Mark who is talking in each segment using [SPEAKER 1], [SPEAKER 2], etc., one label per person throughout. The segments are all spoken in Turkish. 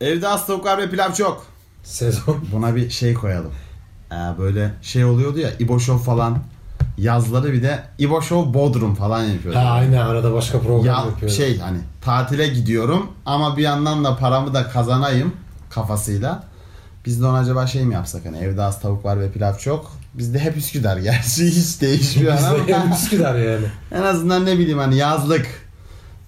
[SPEAKER 1] Evde az tavuklar ve pilav çok.
[SPEAKER 2] Sezon.
[SPEAKER 1] Buna bir şey koyalım. Ee, böyle şey oluyordu ya İbo Show falan. Yazları bir de İbo Show Bodrum falan yapıyordu.
[SPEAKER 2] Ha aynen arada başka program
[SPEAKER 1] ya
[SPEAKER 2] yapıyoruz.
[SPEAKER 1] şey hani tatile gidiyorum ama bir yandan da paramı da kazanayım kafasıyla. Biz de ona acaba şey mi yapsak hani evde az tavuk var ve pilav çok. Bizde hep Üsküdar gerçi hiç değişmiyor ama.
[SPEAKER 2] Bizde yani Üsküdar yani.
[SPEAKER 1] en azından ne bileyim hani yazlık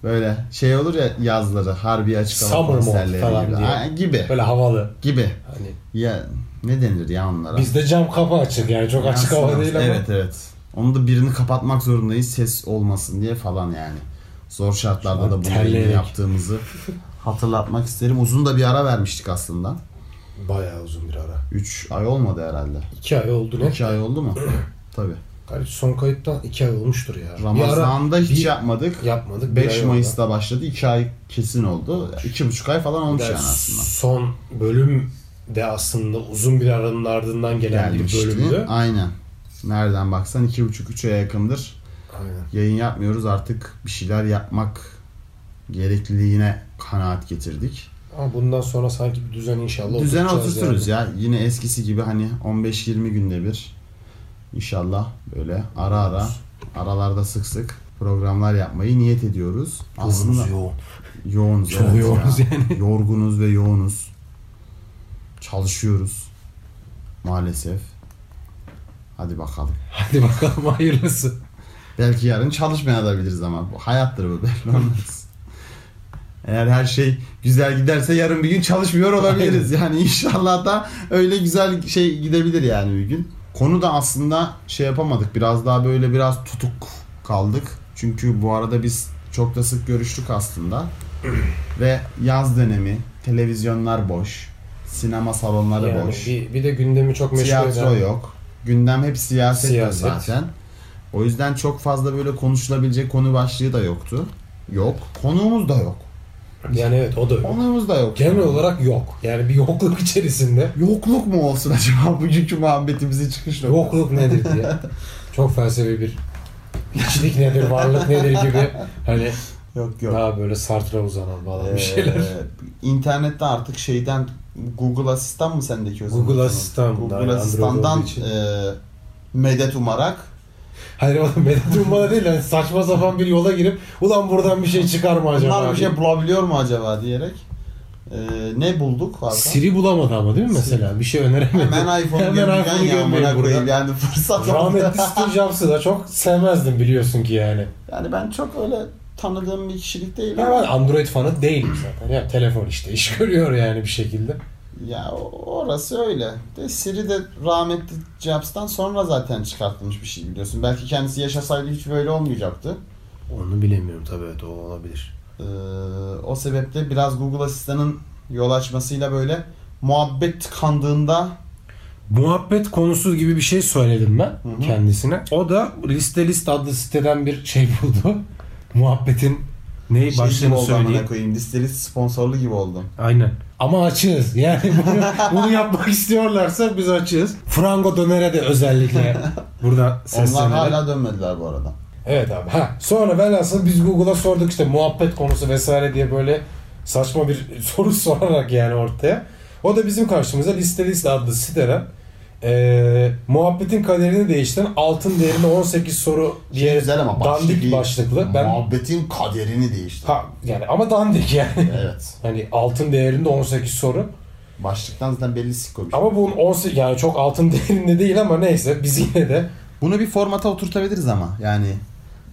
[SPEAKER 1] böyle şey olur ya yazları harbi açık hava
[SPEAKER 2] Summer mode
[SPEAKER 1] konserleri
[SPEAKER 2] falan
[SPEAKER 1] gibi.
[SPEAKER 2] diye.
[SPEAKER 1] Ha, gibi.
[SPEAKER 2] Böyle havalı.
[SPEAKER 1] Gibi.
[SPEAKER 2] Hani
[SPEAKER 1] Ya ne denir ya onlara?
[SPEAKER 2] bizde cam kapı açık yani çok açık hava
[SPEAKER 1] Yansımaz.
[SPEAKER 2] değil ama.
[SPEAKER 1] Evet evet. Onu da birini kapatmak zorundayız ses olmasın diye falan yani. Zor şartlarda
[SPEAKER 2] Şu
[SPEAKER 1] da
[SPEAKER 2] an
[SPEAKER 1] bunu yayını
[SPEAKER 2] terleyerek.
[SPEAKER 1] yaptığımızı hatırlatmak isterim. Uzun da bir ara vermiştik aslında.
[SPEAKER 2] Bayağı uzun bir ara.
[SPEAKER 1] 3 ay olmadı herhalde.
[SPEAKER 2] İki ay oldu ne?
[SPEAKER 1] 2 ay oldu mu? Tabii.
[SPEAKER 2] Galiba son kayıttan iki ay olmuştur ya. Bir
[SPEAKER 1] Ramazan'da
[SPEAKER 2] ara
[SPEAKER 1] hiç
[SPEAKER 2] bir-
[SPEAKER 1] yapmadık.
[SPEAKER 2] yapmadık. bir
[SPEAKER 1] 5
[SPEAKER 2] ay oldu.
[SPEAKER 1] Mayıs'ta başladı. 2 ay kesin oldu. 2,5 ay falan olmuş
[SPEAKER 2] Yani
[SPEAKER 1] yani aslında.
[SPEAKER 2] Son bölüm de aslında uzun bir aranın ardından gelen bir
[SPEAKER 1] Gelmişti.
[SPEAKER 2] bölümdü.
[SPEAKER 1] Aynen. Nereden baksan 2,5-3 aya yakındır.
[SPEAKER 2] Aynen.
[SPEAKER 1] yayın yapmıyoruz artık bir şeyler yapmak gerekliliğine kanaat getirdik.
[SPEAKER 2] Ama bundan sonra sanki bir düzen inşallah
[SPEAKER 1] Düzene
[SPEAKER 2] oturtacağız
[SPEAKER 1] oturturuz
[SPEAKER 2] yani.
[SPEAKER 1] ya. Yine eskisi gibi hani 15-20 günde bir inşallah böyle ara ara aralarda sık sık programlar yapmayı niyet ediyoruz. Aslında
[SPEAKER 2] Aslında yoğun.
[SPEAKER 1] yoğunuz.
[SPEAKER 2] Çok
[SPEAKER 1] evet
[SPEAKER 2] yoğunuz
[SPEAKER 1] ya. Yorgunuz ve yoğunuz. Çalışıyoruz. Maalesef. Hadi bakalım.
[SPEAKER 2] Hadi bakalım hayırlısı.
[SPEAKER 1] Belki yarın çalışmaya da biliriz ama bu hayattır bu belli olmaz. Eğer her şey güzel giderse yarın bir gün çalışmıyor olabiliriz. Yani inşallah da öyle güzel şey gidebilir yani bir gün. Konu da aslında şey yapamadık. Biraz daha böyle biraz tutuk kaldık. Çünkü bu arada biz çok da sık görüştük aslında. Ve yaz dönemi, televizyonlar boş, sinema salonları
[SPEAKER 2] Yani
[SPEAKER 1] boş.
[SPEAKER 2] bir, bir de gündemi çok meşgul
[SPEAKER 1] Tiyatro
[SPEAKER 2] eden-
[SPEAKER 1] yok. Gündem hep siyaset,
[SPEAKER 2] Siyaset.
[SPEAKER 1] zaten. O yüzden çok fazla böyle konuşulabilecek konu başlığı da yoktu. Yok. Konuğumuz da yok.
[SPEAKER 2] Yani evet o da yok.
[SPEAKER 1] Konuğumuz da yok.
[SPEAKER 2] Genel olarak yok. Yani bir yokluk içerisinde.
[SPEAKER 1] yokluk mu olsun acaba bugünkü muhabbetimizin çıkış noktası?
[SPEAKER 2] Yokluk nedir diye. Çok felsefi bir hiçlik nedir, varlık nedir gibi hani
[SPEAKER 1] Yok
[SPEAKER 2] daha böyle Sartre'a uzanan falan bir
[SPEAKER 1] Ee,
[SPEAKER 2] şeyler.
[SPEAKER 1] internette artık şeyden Google Asistan mı sendeki o zaman?
[SPEAKER 2] Google Asistan, daha
[SPEAKER 1] Google
[SPEAKER 2] Android
[SPEAKER 1] Asistan'dan
[SPEAKER 2] olduğu için.
[SPEAKER 1] e, medet umarak
[SPEAKER 2] Hayır oğlum medet ummana değil hani saçma sapan bir yola girip ulan buradan bir şey çıkar mı acaba?
[SPEAKER 1] bunlar bir
[SPEAKER 2] diye.
[SPEAKER 1] şey bulabiliyor mu acaba diyerek e, ne bulduk Hakan?
[SPEAKER 2] Siri bulamadı ama değil mi mesela? Bir şey öneremedi.
[SPEAKER 1] Hemen iPhone'u gömdüren
[SPEAKER 2] iPhone'u
[SPEAKER 1] ya amına
[SPEAKER 2] gömmeyin
[SPEAKER 1] koyayım
[SPEAKER 2] burada.
[SPEAKER 1] yani fırsat oldu.
[SPEAKER 2] Rahmetli Steve Jobs'ı da çok sevmezdim biliyorsun ki yani.
[SPEAKER 1] Yani ben çok öyle tanıdığım bir kişilik değil
[SPEAKER 2] Ya ben
[SPEAKER 1] ama
[SPEAKER 2] Android fanı değilim zaten. Ya telefon işte iş görüyor yani bir şekilde.
[SPEAKER 1] ya o- orası öyle. De Siri de rahmetli Jobs'tan sonra zaten çıkartılmış bir şey biliyorsun. Belki kendisi yaşasaydı hiç böyle olmayacaktı.
[SPEAKER 2] Onu bilemiyorum tabii evet o olabilir.
[SPEAKER 1] Ee, o sebeple biraz Google Asistan'ın yol açmasıyla böyle muhabbet tıkandığında
[SPEAKER 2] Muhabbet konusu gibi bir şey söyledim ben
[SPEAKER 1] Hı hı.
[SPEAKER 2] kendisine. O da liste list adlı siteden bir şey buldu. Muhabbetin neyi
[SPEAKER 1] şey gibi
[SPEAKER 2] başlığını
[SPEAKER 1] oldu
[SPEAKER 2] söyleyeyim.
[SPEAKER 1] amına koyayım. Listeli sponsorlu gibi oldum.
[SPEAKER 2] Aynen. Ama açığız. Yani bunu, bunu yapmak istiyorlarsa biz açığız. Frango dönere de özellikle burada
[SPEAKER 1] Onlar
[SPEAKER 2] seslenelim.
[SPEAKER 1] hala dönmediler bu arada.
[SPEAKER 2] Evet abi. Ha. Sonra velhasıl biz Google'a sorduk işte muhabbet konusu vesaire diye böyle saçma bir soru sorarak yani ortaya. O da bizim karşımıza liste liste adlı siteden eee, muhabbetin kaderini değiştiren altın değerine 18 soru diye
[SPEAKER 1] Şey güzel ama
[SPEAKER 2] dandik
[SPEAKER 1] başlık-
[SPEAKER 2] başlıklı. Ben,
[SPEAKER 1] Muhabbetin kaderini değişti.
[SPEAKER 2] ha, yani ama dandik yani.
[SPEAKER 1] Evet.
[SPEAKER 2] Hani altın değerinde 18 soru.
[SPEAKER 1] Başlıktan zaten belli sikoymuş.
[SPEAKER 2] Ama bunun 18 yani çok altın değerinde değil ama neyse biz yine de
[SPEAKER 1] Bunu bir formata oturtabiliriz ama yani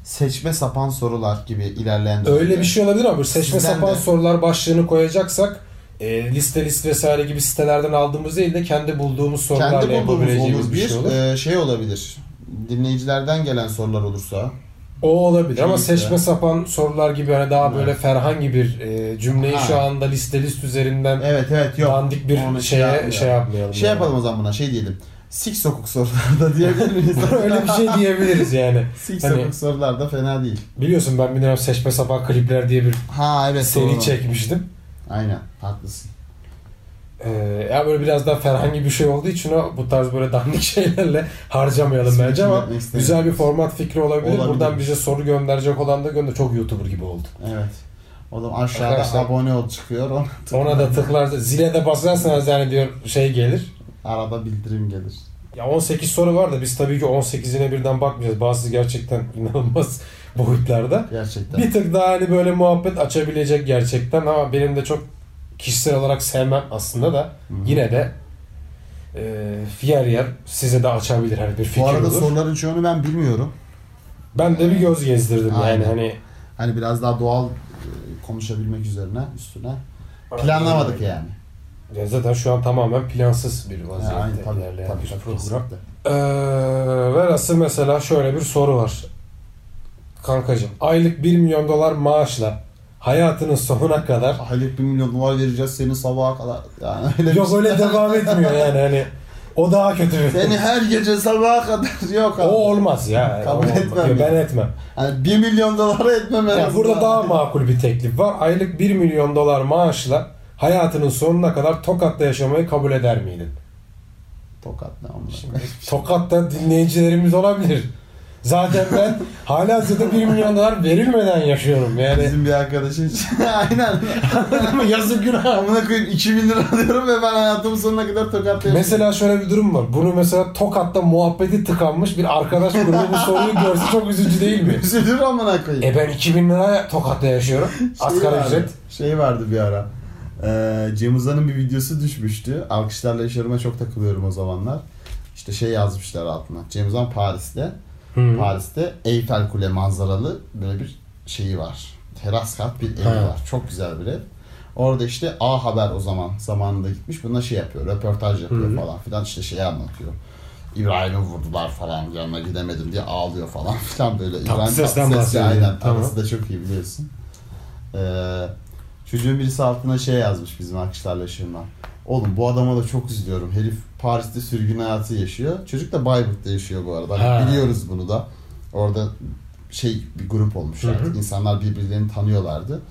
[SPEAKER 1] seçme sapan sorular gibi ilerleyen
[SPEAKER 2] Öyle bir şey olabilir ama böyle seçme
[SPEAKER 1] Sizden
[SPEAKER 2] sapan
[SPEAKER 1] de.
[SPEAKER 2] sorular başlığını koyacaksak e, liste list vesaire gibi sitelerden aldığımız değil de kendi bulduğumuz sorularla
[SPEAKER 1] kendi bulduğumuz
[SPEAKER 2] yapabileceğimiz
[SPEAKER 1] olur
[SPEAKER 2] bir
[SPEAKER 1] bir
[SPEAKER 2] şey olur.
[SPEAKER 1] e, şey olabilir. Dinleyicilerden gelen sorular olursa
[SPEAKER 2] o olabilir ama
[SPEAKER 1] Kesinlikle.
[SPEAKER 2] seçme sapan sorular gibi hani daha böyle ferhangi bir e, cümleyi
[SPEAKER 1] Ha.
[SPEAKER 2] şu anda liste list üzerinden
[SPEAKER 1] evet evet yok.
[SPEAKER 2] dandik bir
[SPEAKER 1] Onu
[SPEAKER 2] şeye
[SPEAKER 1] yapmayalım.
[SPEAKER 2] şey yapmayalım.
[SPEAKER 1] Şey
[SPEAKER 2] yani.
[SPEAKER 1] yapalım o zaman buna şey diyelim. Sik sokuk sorularda diyebilir miyiz?
[SPEAKER 2] Öyle bir şey diyebiliriz yani.
[SPEAKER 1] Sik
[SPEAKER 2] Hani-
[SPEAKER 1] sokuk sorular da fena değil.
[SPEAKER 2] Biliyorsun ben bir dönem seçme sapan klipler diye bir
[SPEAKER 1] Ha evet
[SPEAKER 2] seri
[SPEAKER 1] doğru.
[SPEAKER 2] çekmiştim.
[SPEAKER 1] Aynen haklısın.
[SPEAKER 2] Ee, ya böyle biraz daha ferhangi bir şey olduğu için o bu tarz böyle dandik şeylerle harcamayalım
[SPEAKER 1] İsmini
[SPEAKER 2] bence ama
[SPEAKER 1] kirletmek istemiyorum.
[SPEAKER 2] güzel bir format fikri olabilir.
[SPEAKER 1] Olabilir.
[SPEAKER 2] Buradan bize soru gönderecek olan da gönder. Çok YouTuber gibi oldu.
[SPEAKER 1] Evet. O zaman aşağıda
[SPEAKER 2] Arkadaşlar-
[SPEAKER 1] abone ol çıkıyor. Ona
[SPEAKER 2] Ona da tıklar zile de basarsanız yani diyor şey gelir.
[SPEAKER 1] Arada bildirim gelir.
[SPEAKER 2] Ya 18 soru var da biz tabii ki 18'ine birden bakmayacağız. Bazısı gerçekten inanılmaz boyutlarda.
[SPEAKER 1] Gerçekten.
[SPEAKER 2] Bir tık daha hani böyle muhabbet açabilecek gerçekten ama benim de çok kişisel olarak sevmem aslında da
[SPEAKER 1] Hı hı.
[SPEAKER 2] yine de e, yer yer size de açabilir hani bir fikir
[SPEAKER 1] Bu arada
[SPEAKER 2] olur.
[SPEAKER 1] soruların çoğunu ben bilmiyorum.
[SPEAKER 2] Ben de bir göz gezdirdim yani
[SPEAKER 1] Aynen.
[SPEAKER 2] hani
[SPEAKER 1] Hani biraz daha doğal e, konuşabilmek üzerine üstüne. Planlamadık yani.
[SPEAKER 2] Ya zaten şu an tamamen plansız bir
[SPEAKER 1] Ha,
[SPEAKER 2] vaziyette
[SPEAKER 1] Aynı tabii.
[SPEAKER 2] ilerleyen
[SPEAKER 1] tabii,
[SPEAKER 2] bir
[SPEAKER 1] tabii,
[SPEAKER 2] program.
[SPEAKER 1] kesinlikle.
[SPEAKER 2] Ee, velhasıl mesela şöyle bir soru var. Kankacığım aylık 1 milyon dolar maaşla hayatının sonuna kadar
[SPEAKER 1] Aylık 1 milyon dolar vereceğiz senin sabaha kadar. Yani öyle bir- şey.
[SPEAKER 2] yok öyle devam etmiyor yani hani o daha kötü bir
[SPEAKER 1] Seni her gece sabaha kadar yok abi.
[SPEAKER 2] O olmaz ya.
[SPEAKER 1] Kabul
[SPEAKER 2] O olmaz.
[SPEAKER 1] etmem
[SPEAKER 2] Yok,
[SPEAKER 1] ya.
[SPEAKER 2] Ben etmem.
[SPEAKER 1] Hani 1 milyon dolara etmem en
[SPEAKER 2] Yani
[SPEAKER 1] azından.
[SPEAKER 2] burada daha makul bir teklif var. Aylık 1 milyon dolar maaşla hayatının sonuna kadar Tokat'ta yaşamayı kabul eder miydin?
[SPEAKER 1] Tokat ne amına.
[SPEAKER 2] Şimdi Tokat'ta dinleyicilerimiz olabilir. Zaten ben hala zaten 1 milyon dolar verilmeden yaşıyorum yani.
[SPEAKER 1] Bizim bir arkadaşın aynen.
[SPEAKER 2] Yazık günah.
[SPEAKER 1] Amına koyayım 2000 lira alıyorum ve ben hayatımın sonuna kadar tokatlayacağım.
[SPEAKER 2] Mesela şöyle bir durum var. Bunu mesela Tokat'ta muhabbeti tıkanmış bir arkadaş grubu bu soruyu görse çok üzücü değil mi?
[SPEAKER 1] Üzülür amına koyayım.
[SPEAKER 2] E ben 2000 lira Tokat'ta yaşıyorum. Asgari
[SPEAKER 1] vardı,
[SPEAKER 2] ücret.
[SPEAKER 1] Şey vardı bir ara. Ee, Cem Uzan'ın bir videosu düşmüştü. Alkışlarla yaşarıma çok takılıyorum o zamanlar. İşte şey yazmışlar altına. Cem Uzan Paris'te.
[SPEAKER 2] Hı.
[SPEAKER 1] Paris'te Eyfel Kule manzaralı böyle bir şeyi var. Teras kat bir evi
[SPEAKER 2] Ha.
[SPEAKER 1] var. Çok güzel bir ev. Orada işte A Haber o zaman zamanında gitmiş. Buna şey yapıyor. Röportaj yapıyor
[SPEAKER 2] Hı.
[SPEAKER 1] falan filan. işte şey anlatıyor. İbrahim'i vurdular falan yanına gidemedim diye ağlıyor falan filan böyle.
[SPEAKER 2] Tatlıses'ten
[SPEAKER 1] Tatlıses'le
[SPEAKER 2] bahsediyor.
[SPEAKER 1] Aynen.
[SPEAKER 2] Tamam.
[SPEAKER 1] Tatlıses'i de çok iyi biliyorsun. Ee, çocuğun birisi altına şey yazmış bizim arkadaşlarla şırma. Oğlum bu adama da çok üzülüyorum. Herif Paris'te sürgün hayatı yaşıyor. Çocuk da Bayburt'ta yaşıyor bu arada. Hani
[SPEAKER 2] Ha.
[SPEAKER 1] biliyoruz bunu da. Orada şey bir grup olmuş
[SPEAKER 2] Hı hı.
[SPEAKER 1] artık. İnsanlar birbirlerini tanıyorlardı.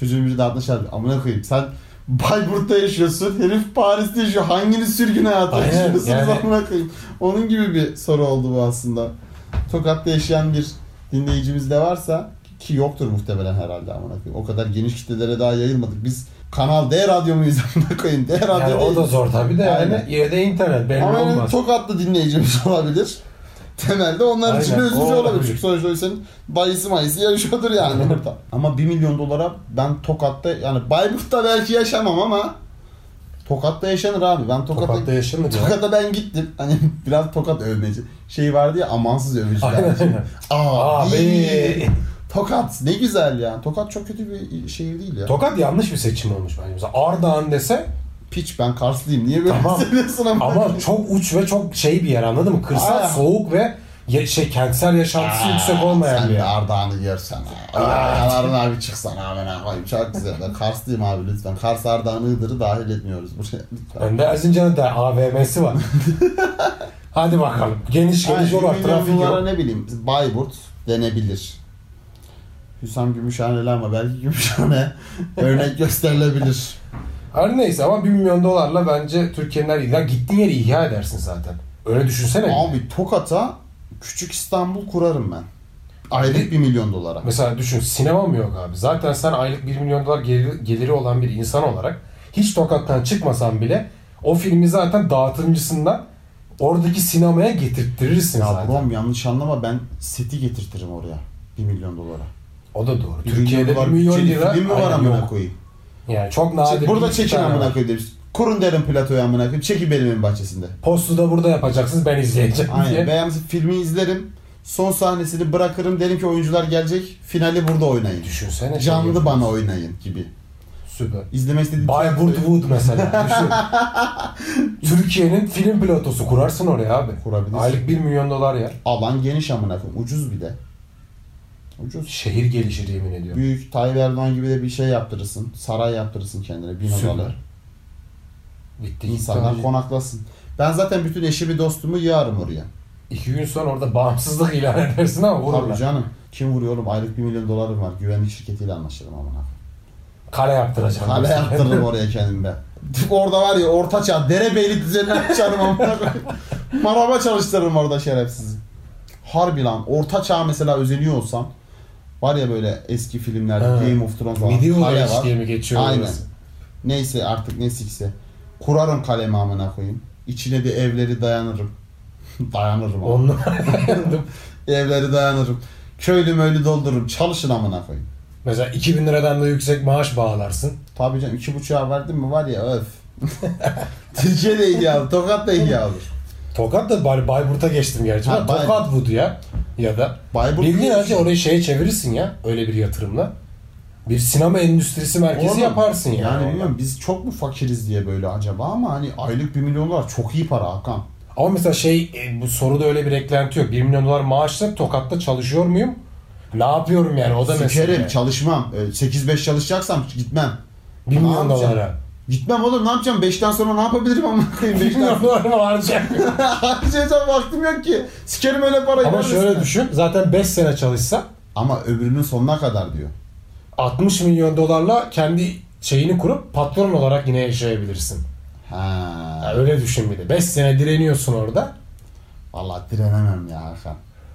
[SPEAKER 1] Çocuğun biri de altına şey yazmış. Amına koyayım sen Bayburt'ta yaşıyorsun. Herif Paris'te yaşıyor. Hanginiz sürgün hayatı
[SPEAKER 2] Aynen,
[SPEAKER 1] yaşıyorsunuz
[SPEAKER 2] yani-
[SPEAKER 1] amına koyayım. Onun gibi bir soru oldu bu aslında. Tokat'ta yaşayan bir dinleyicimiz de varsa ki yoktur muhtemelen herhalde amına koyayım. O kadar geniş kitlelere daha yayılmadık. Biz Kanal D radyo muyuz amına koyayım? D radyo
[SPEAKER 2] Yani o da
[SPEAKER 1] değiliz.
[SPEAKER 2] zor tabii de yani.
[SPEAKER 1] Aynen.
[SPEAKER 2] Yine de internet belli
[SPEAKER 1] Ama yani
[SPEAKER 2] olmaz.
[SPEAKER 1] Tokatlı dinleyicimiz olabilir. Temelde onlar için de
[SPEAKER 2] Aynen,
[SPEAKER 1] üzücü
[SPEAKER 2] o
[SPEAKER 1] olabilir.
[SPEAKER 2] olabilir.
[SPEAKER 1] Çünkü sonuçta senin dayısı mayısı yarışıyordur yani orada. Ama 1 milyon dolara ben Tokat'ta yani Bayburt'ta belki yaşamam ama Tokat'ta yaşanır abi. Ben Tokat'ta
[SPEAKER 2] Tokat'ta yaşanır ya.
[SPEAKER 1] Tokat'a ben gittim. Hani biraz Tokat övmeci. Şey vardı ya amansız övücüler.
[SPEAKER 2] Aynen.
[SPEAKER 1] Aa,
[SPEAKER 2] Abi.
[SPEAKER 1] Tokat ne güzel ya. Tokat çok kötü bir şehir değil ya.
[SPEAKER 2] Tokat yanlış bir seçim olmuş bence. Mesela Ardahan dese
[SPEAKER 1] Piç ben Karslıyım. Niye böyle
[SPEAKER 2] Tamam.
[SPEAKER 1] söylüyorsun ama?
[SPEAKER 2] ama çok uç ve çok şey bir yer anladın mı? Kırsal,
[SPEAKER 1] Aynen.
[SPEAKER 2] soğuk ve ya- şey kentsel yaşantısı
[SPEAKER 1] Aa,
[SPEAKER 2] yüksek olmayan
[SPEAKER 1] Sen
[SPEAKER 2] bir
[SPEAKER 1] bir
[SPEAKER 2] yer.
[SPEAKER 1] Ardahan'ı görsen. Ardahan'ın abi çıksana hemen abi. Çok güzel. Ben Karslıyım abi lütfen. Kars Ardahan'ı Iğdır'ı dahil etmiyoruz buraya. Lütfen.
[SPEAKER 2] Önde Erzincan'ın da AVM'si var. Hadi bakalım. Geniş geniş
[SPEAKER 1] Yani
[SPEAKER 2] yol var.
[SPEAKER 1] bir
[SPEAKER 2] Trafik
[SPEAKER 1] milyonlara
[SPEAKER 2] yok.
[SPEAKER 1] ne bileyim Bayburt denebilir. Hüsam Gümüşhane'li ama belki Gümüşhane örnek gösterilebilir.
[SPEAKER 2] Her neyse ama 1 milyon dolarla bence Türkiye'nin her illa gittiğin yeri ihya edersin zaten. Öyle düşünsene. Abi.
[SPEAKER 1] Abi Tokat'a küçük İstanbul kurarım ben. Aylık 1 milyon dolara.
[SPEAKER 2] Mesela düşün sinema mı yok abi? Zaten sen aylık 1 milyon dolar geliri, geliri olan bir insan olarak hiç tokattan çıkmasan bile o filmi zaten dağıtımcısından oradaki sinemaya getirttirirsin
[SPEAKER 1] Ya
[SPEAKER 2] zaten.
[SPEAKER 1] brom yanlış anlama ben seti getirtirim oraya. 1 milyon dolara.
[SPEAKER 2] O da doğru.
[SPEAKER 1] Bir
[SPEAKER 2] Türkiye'de 1
[SPEAKER 1] dolar
[SPEAKER 2] milyon
[SPEAKER 1] bütçeli
[SPEAKER 2] lira
[SPEAKER 1] film mi var
[SPEAKER 2] Aynen,
[SPEAKER 1] amına
[SPEAKER 2] yok.
[SPEAKER 1] koyayım?
[SPEAKER 2] Yani çok
[SPEAKER 1] Çek-
[SPEAKER 2] nadir.
[SPEAKER 1] burada
[SPEAKER 2] bir
[SPEAKER 1] çekin
[SPEAKER 2] tane
[SPEAKER 1] amına
[SPEAKER 2] var.
[SPEAKER 1] koyayım demiş. Kurun derin platoya amına koyayım. Çekin benim evin bahçesinde.
[SPEAKER 2] Postu da burada yapacaksınız ben izleyeceğim diye.
[SPEAKER 1] Aynen. Ben filmi izlerim. Son sahnesini bırakırım. Derim ki oyuncular gelecek. Finali burada oynayın.
[SPEAKER 2] Düşünsene. şey
[SPEAKER 1] Canlı
[SPEAKER 2] gibi.
[SPEAKER 1] bana oynayın gibi.
[SPEAKER 2] Süper.
[SPEAKER 1] İzlemek istediğim
[SPEAKER 2] Bayburt Wood mesela. Düşün. Türkiye'nin film pilotosu kurarsın oraya abi.
[SPEAKER 1] Kurabilirsin.
[SPEAKER 2] Aylık 1 milyon dolar ya.
[SPEAKER 1] Alan geniş amına koyayım. Ucuz bir de. Ucuz.
[SPEAKER 2] Şehir gelişir yemin ediyorum.
[SPEAKER 1] Büyük Tayyip Erdoğan gibi de bir şey yaptırırsın. Saray yaptırırsın kendine. Bin
[SPEAKER 2] Süper.
[SPEAKER 1] odalı.
[SPEAKER 2] Bitti.
[SPEAKER 1] İnsanlar
[SPEAKER 2] Gitti.
[SPEAKER 1] konaklasın. Ben zaten bütün eşimi dostumu yığarım oraya.
[SPEAKER 2] İki gün sonra orada bağımsızlık ilan edersin ama
[SPEAKER 1] Tabii
[SPEAKER 2] vururlar.
[SPEAKER 1] canım. Kim vuruyor oğlum? Aylık 1 milyon dolarım var. Güvenlik şirketiyle anlaşırım amına koyayım.
[SPEAKER 2] Kale yaptıracaksın.
[SPEAKER 1] Hale yaptırırım oraya kendimi ben. Orada var ya orta çağ, derebeylik düzenini açarım amına koyayım. Maraba çalıştırırım orada şerefsizi. Harbi lan orta çağ mesela özeniyor olsam Var ya böyle eski filmlerde
[SPEAKER 2] Ha.
[SPEAKER 1] Game of Thrones falan.
[SPEAKER 2] Medieval
[SPEAKER 1] kale
[SPEAKER 2] Age
[SPEAKER 1] var.
[SPEAKER 2] diye mi geçiyor?
[SPEAKER 1] Aynen.
[SPEAKER 2] orası?
[SPEAKER 1] Neyse artık ne sikse. Kurarım kalemi amına koyayım. İçine de evleri dayanırım. dayanırım ama.
[SPEAKER 2] Onlar
[SPEAKER 1] Evleri dayanırım. Köylü möylü doldururum. Çalışın amına koyayım.
[SPEAKER 2] mesela 2000 liradan da yüksek maaş bağlarsın.
[SPEAKER 1] Tabii canım iki buçuğa verdim mi var ya öf. Türkiye de iyi alır. Tokat da iyi alır.
[SPEAKER 2] Tokat da bari Bayburt'a geçtim gerçi.
[SPEAKER 1] Ha,
[SPEAKER 2] Bak,
[SPEAKER 1] Bayburt.
[SPEAKER 2] Tokat budu ya. Ya da
[SPEAKER 1] Bayburt
[SPEAKER 2] bildiğin
[SPEAKER 1] diyorsun.
[SPEAKER 2] halde orayı şeye çevirirsin ya öyle bir yatırımla. Bir sinema endüstrisi merkezi
[SPEAKER 1] Oğlum,
[SPEAKER 2] yaparsın yani.
[SPEAKER 1] Yani
[SPEAKER 2] oradan.
[SPEAKER 1] bilmiyorum biz çok mu fakiriz diye böyle acaba ama hani aylık 1 milyon dolar çok iyi para Hakan.
[SPEAKER 2] Ama mesela şey e, bu soruda öyle bir eklenti yok. 1 milyon dolar maaşla Tokat'ta çalışıyor muyum? Ne yapıyorum yani o da
[SPEAKER 1] Sikerim
[SPEAKER 2] mesela. şey.
[SPEAKER 1] çalışmam. Ee, 8-5 çalışacaksam gitmem.
[SPEAKER 2] 1
[SPEAKER 1] Ne
[SPEAKER 2] milyon
[SPEAKER 1] yapacağım?
[SPEAKER 2] dolara.
[SPEAKER 1] Gitmem oğlum ne yapacağım? 5'ten sonra ne yapabilirim ama koyayım
[SPEAKER 2] 1
[SPEAKER 1] 5'ten
[SPEAKER 2] milyon
[SPEAKER 1] sonra.
[SPEAKER 2] dolar mı harcayacak?
[SPEAKER 1] Harcayacağım vaktim yok ki. Sikerim öyle parayı.
[SPEAKER 2] Ama
[SPEAKER 1] ben de
[SPEAKER 2] şöyle
[SPEAKER 1] sikerim.
[SPEAKER 2] düşün. Zaten 5 sene çalışsa
[SPEAKER 1] Ama öbürünün sonuna kadar diyor.
[SPEAKER 2] 60 milyon dolarla kendi şeyini kurup patron olarak yine yaşayabilirsin. Ya
[SPEAKER 1] Ha.
[SPEAKER 2] öyle düşün bir de. 5 sene direniyorsun orada.
[SPEAKER 1] Vallahi direnemem ya Hakan.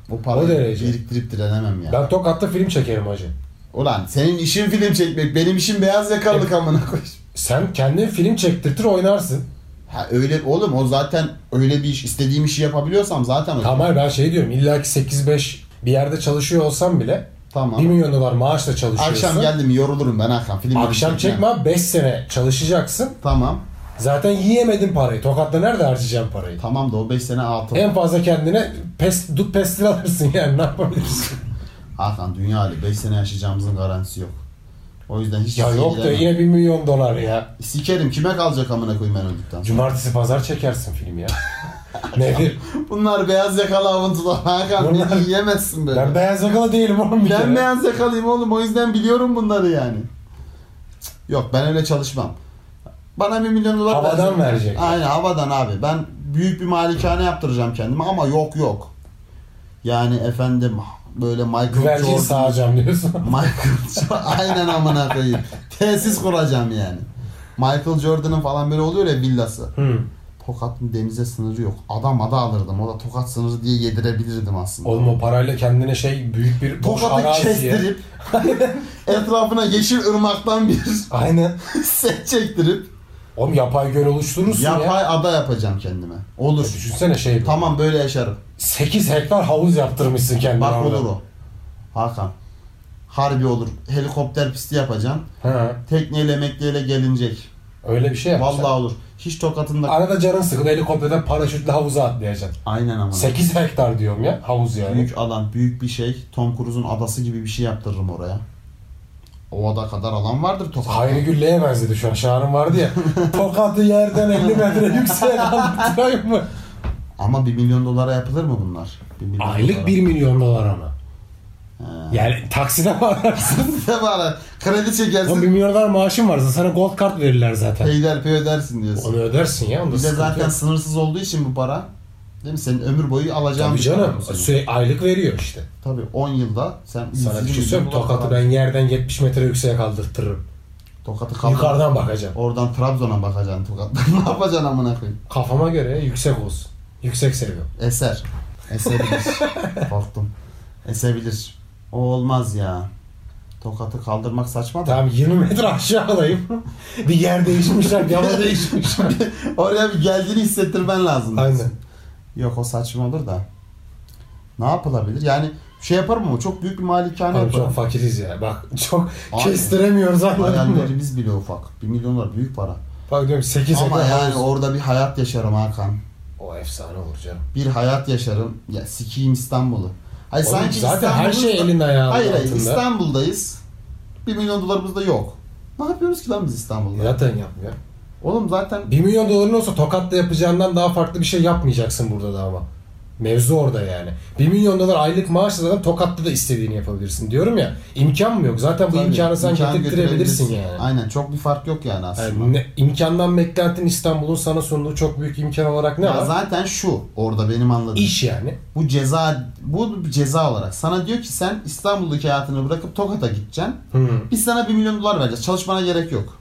[SPEAKER 1] Bu parayı
[SPEAKER 2] O derece.
[SPEAKER 1] biriktirip direnemem ya.
[SPEAKER 2] Ben Tokat'ta film çekerim hacı.
[SPEAKER 1] Ulan senin işin film çekmek, benim işim beyaz yakalılık amına koyayım.
[SPEAKER 2] Sen kendin film çektirtir oynarsın.
[SPEAKER 1] Ha öyle oğlum o zaten öyle bir iş istediğim işi yapabiliyorsam zaten o.
[SPEAKER 2] Tamam hayır, ben şey diyorum illaki 8-5 bir yerde çalışıyor olsam bile 1
[SPEAKER 1] Tamam.
[SPEAKER 2] milyon dolar maaşla çalışıyorsun.
[SPEAKER 1] Akşam geldim yorulurum ben Hakan. Film
[SPEAKER 2] Akşam
[SPEAKER 1] izleyeceğim.
[SPEAKER 2] çekme 5 sene çalışacaksın.
[SPEAKER 1] Tamam.
[SPEAKER 2] Zaten yiyemedin parayı. Tokat'ta nerede harcayacaksın parayı?
[SPEAKER 1] Tamam da o 5 sene altı.
[SPEAKER 2] En fazla kendine pes, dut pestil alırsın yani ne yapabilirsin?
[SPEAKER 1] Hakan dünya hali 5 sene yaşayacağımızın garantisi yok. O yüzden hiç
[SPEAKER 2] ya yok da
[SPEAKER 1] ilgilenmem.
[SPEAKER 2] yine 1 milyon dolar ya.
[SPEAKER 1] Sikerim kime kalacak amına koyayım ben öldükten sonra.
[SPEAKER 2] Cumartesi pazar çekersin film ya. Nedir?
[SPEAKER 1] Bunlar beyaz yakalı avuntular Hakan
[SPEAKER 2] Bunlar-
[SPEAKER 1] beni yiyemezsin böyle.
[SPEAKER 2] Ben
[SPEAKER 1] Ben,
[SPEAKER 2] beyaz yakalı değilim oğlum bir kere.
[SPEAKER 1] beyaz yakalıyım oğlum o yüzden biliyorum bunları yani. Cık, Yok ben öyle çalışmam. Bana bir milyon dolar
[SPEAKER 2] Havadan verecek.
[SPEAKER 1] Aynen havadan abi. Ben büyük bir malikane yaptıracağım kendime ama yok yok. Yani efendim böyle Michael
[SPEAKER 2] Güvercin
[SPEAKER 1] Jordan.
[SPEAKER 2] sağacağım diyorsun.
[SPEAKER 1] Michael Jordan. Aynen amına koyayım. Tesis kuracağım yani. Michael Jordan'ın falan böyle oluyor ya villası.
[SPEAKER 2] Hı.
[SPEAKER 1] Tokat'ın denize sınırı yok. Adam ada alırdım. O da Tokat sınırı diye yedirebilirdim aslında.
[SPEAKER 2] Oğlum o parayla kendine şey büyük bir boş
[SPEAKER 1] Tokat'ı
[SPEAKER 2] araziye.
[SPEAKER 1] kestirip etrafına yeşil ırmaktan bir
[SPEAKER 2] Aynen.
[SPEAKER 1] set çektirip
[SPEAKER 2] Oğlum yapay göl oluşturursun ya.
[SPEAKER 1] yapay ada yapacağım kendime. Olur.
[SPEAKER 2] Düşünsene şey bu.
[SPEAKER 1] Tamam böyle yaşarım.
[SPEAKER 2] 8 hektar havuz yaptırmışsın kendine.
[SPEAKER 1] Bak
[SPEAKER 2] orada.
[SPEAKER 1] olur o. Hakan. Harbi olur. Helikopter pisti yapacaksın.
[SPEAKER 2] Ha,
[SPEAKER 1] Tekneyle mekneyle gelinecek.
[SPEAKER 2] öyle bir şey yapacaksın.
[SPEAKER 1] Vallahi olur. Hiç tokatında...
[SPEAKER 2] Arada canın sıkıldı helikopterden paraşütle havuza atlayacaksın.
[SPEAKER 1] Aynen ama.
[SPEAKER 2] 8 hektar diyorum ya havuz yani.
[SPEAKER 1] Büyük alan, büyük bir şey. Tom Cruise'un adası gibi bir şey yaptırırım oraya. Ovada kadar alan vardır Tokat'ta.
[SPEAKER 2] Hayri Gülle'ye benzedi şu an. Şahan'ın vardı ya. Tokatı yerden 50 metre yükseğe kaldırtayım mı?
[SPEAKER 1] Ama 1 milyon dolara yapılır mı bunlar? Bir milyon dolara.
[SPEAKER 2] Aylık 1 milyon dolar ama.
[SPEAKER 1] He.
[SPEAKER 2] Yani takside bağlarsın.
[SPEAKER 1] Ne var? Kredi
[SPEAKER 2] Oğlum 1
[SPEAKER 1] çekersin.
[SPEAKER 2] milyon dolar maaşın varsa sana gold kart verirler zaten.
[SPEAKER 1] Peyderpey ödersin diyorsun.
[SPEAKER 2] Onu ödersin ya. Onda
[SPEAKER 1] Bir de
[SPEAKER 2] sıkıntı
[SPEAKER 1] zaten
[SPEAKER 2] yok.
[SPEAKER 1] sınırsız olduğu için bu para. Değil mi? Senin ömür boyu alacağın
[SPEAKER 2] Tabii
[SPEAKER 1] bir para
[SPEAKER 2] canım.
[SPEAKER 1] bu senin.
[SPEAKER 2] Sürekli aylık veriyor işte.
[SPEAKER 1] Tabii 10 yılda sen
[SPEAKER 2] Sana bir
[SPEAKER 1] 120
[SPEAKER 2] şey söyleyeyim.
[SPEAKER 1] milyon dolar
[SPEAKER 2] Tokatı
[SPEAKER 1] para-
[SPEAKER 2] ben yerden 70 metre yükseğe kaldırtırım.
[SPEAKER 1] Tokat'ı kaldır.
[SPEAKER 2] Yukarıdan bakacağım.
[SPEAKER 1] Oradan Trabzon'a bakacaksın Tokat'tan. ne yapacaksın amına koyayım?
[SPEAKER 2] Kafama göre yüksek olsun. Yüksek seviyorum.
[SPEAKER 1] Eser. Esebilir. Korktum. Esebilir. O olmaz ya. Tokat'ı kaldırmak saçma da.
[SPEAKER 2] Tamam 20 metre aşağıdayım. bir yer değişmişler, bir hava değişmişler.
[SPEAKER 1] Oraya bir geldiğini hissettirmen lazım.
[SPEAKER 2] Aynen.
[SPEAKER 1] Yok o saçma olur da. Ne yapılabilir? Yani şey yaparım ama çok büyük bir malikane
[SPEAKER 2] Abi çok
[SPEAKER 1] yaparım.
[SPEAKER 2] fakiriz ya. Bak çok
[SPEAKER 1] Abi,
[SPEAKER 2] kestiremiyoruz anladın mı?
[SPEAKER 1] Hayallerimiz bile ufak. 1 milyon dolar büyük para.
[SPEAKER 2] Bak diyorum 8
[SPEAKER 1] ama
[SPEAKER 2] ekran
[SPEAKER 1] yani
[SPEAKER 2] havuz.
[SPEAKER 1] orada bir hayat yaşarım Hakan.
[SPEAKER 2] O efsane olur canım.
[SPEAKER 1] Bir hayat yaşarım. Ya sikiyim İstanbul'u. Hayır
[SPEAKER 2] Oğlum
[SPEAKER 1] sanki
[SPEAKER 2] zaten her
[SPEAKER 1] İstanbul'un-
[SPEAKER 2] şey elin ayağının
[SPEAKER 1] Hayır hayır
[SPEAKER 2] altında.
[SPEAKER 1] İstanbul'dayız. 1 milyon dolarımız da yok. Ne yapıyoruz ki lan biz İstanbul'da?
[SPEAKER 2] Zaten yapmıyor.
[SPEAKER 1] Oğlum zaten
[SPEAKER 2] 1 milyon doların olsa Tokat'ta yapacağından daha farklı bir şey yapmayacaksın burada da ama. Mevzu orada yani. 1 milyon dolar aylık maaşla zaten Tokat'ta da istediğini yapabilirsin diyorum ya. İmkan mı yok? Zaten bu
[SPEAKER 1] Tabii,
[SPEAKER 2] imkanı sen
[SPEAKER 1] imkanı
[SPEAKER 2] getirtirebilirsin
[SPEAKER 1] götürebilirsin.
[SPEAKER 2] yani.
[SPEAKER 1] Aynen çok bir fark yok yani aslında.
[SPEAKER 2] yani ne, imkandan beklentin İstanbul'un sana sunduğu çok büyük imkan olarak ne
[SPEAKER 1] Ya
[SPEAKER 2] var?
[SPEAKER 1] zaten şu orada benim anladığım.
[SPEAKER 2] İş yani.
[SPEAKER 1] Bu ceza bu bir ceza olarak sana diyor ki sen İstanbul'daki hayatını bırakıp Tokat'a gideceksin.
[SPEAKER 2] Hı.
[SPEAKER 1] Biz sana 1 milyon dolar vereceğiz. Çalışmana gerek yok.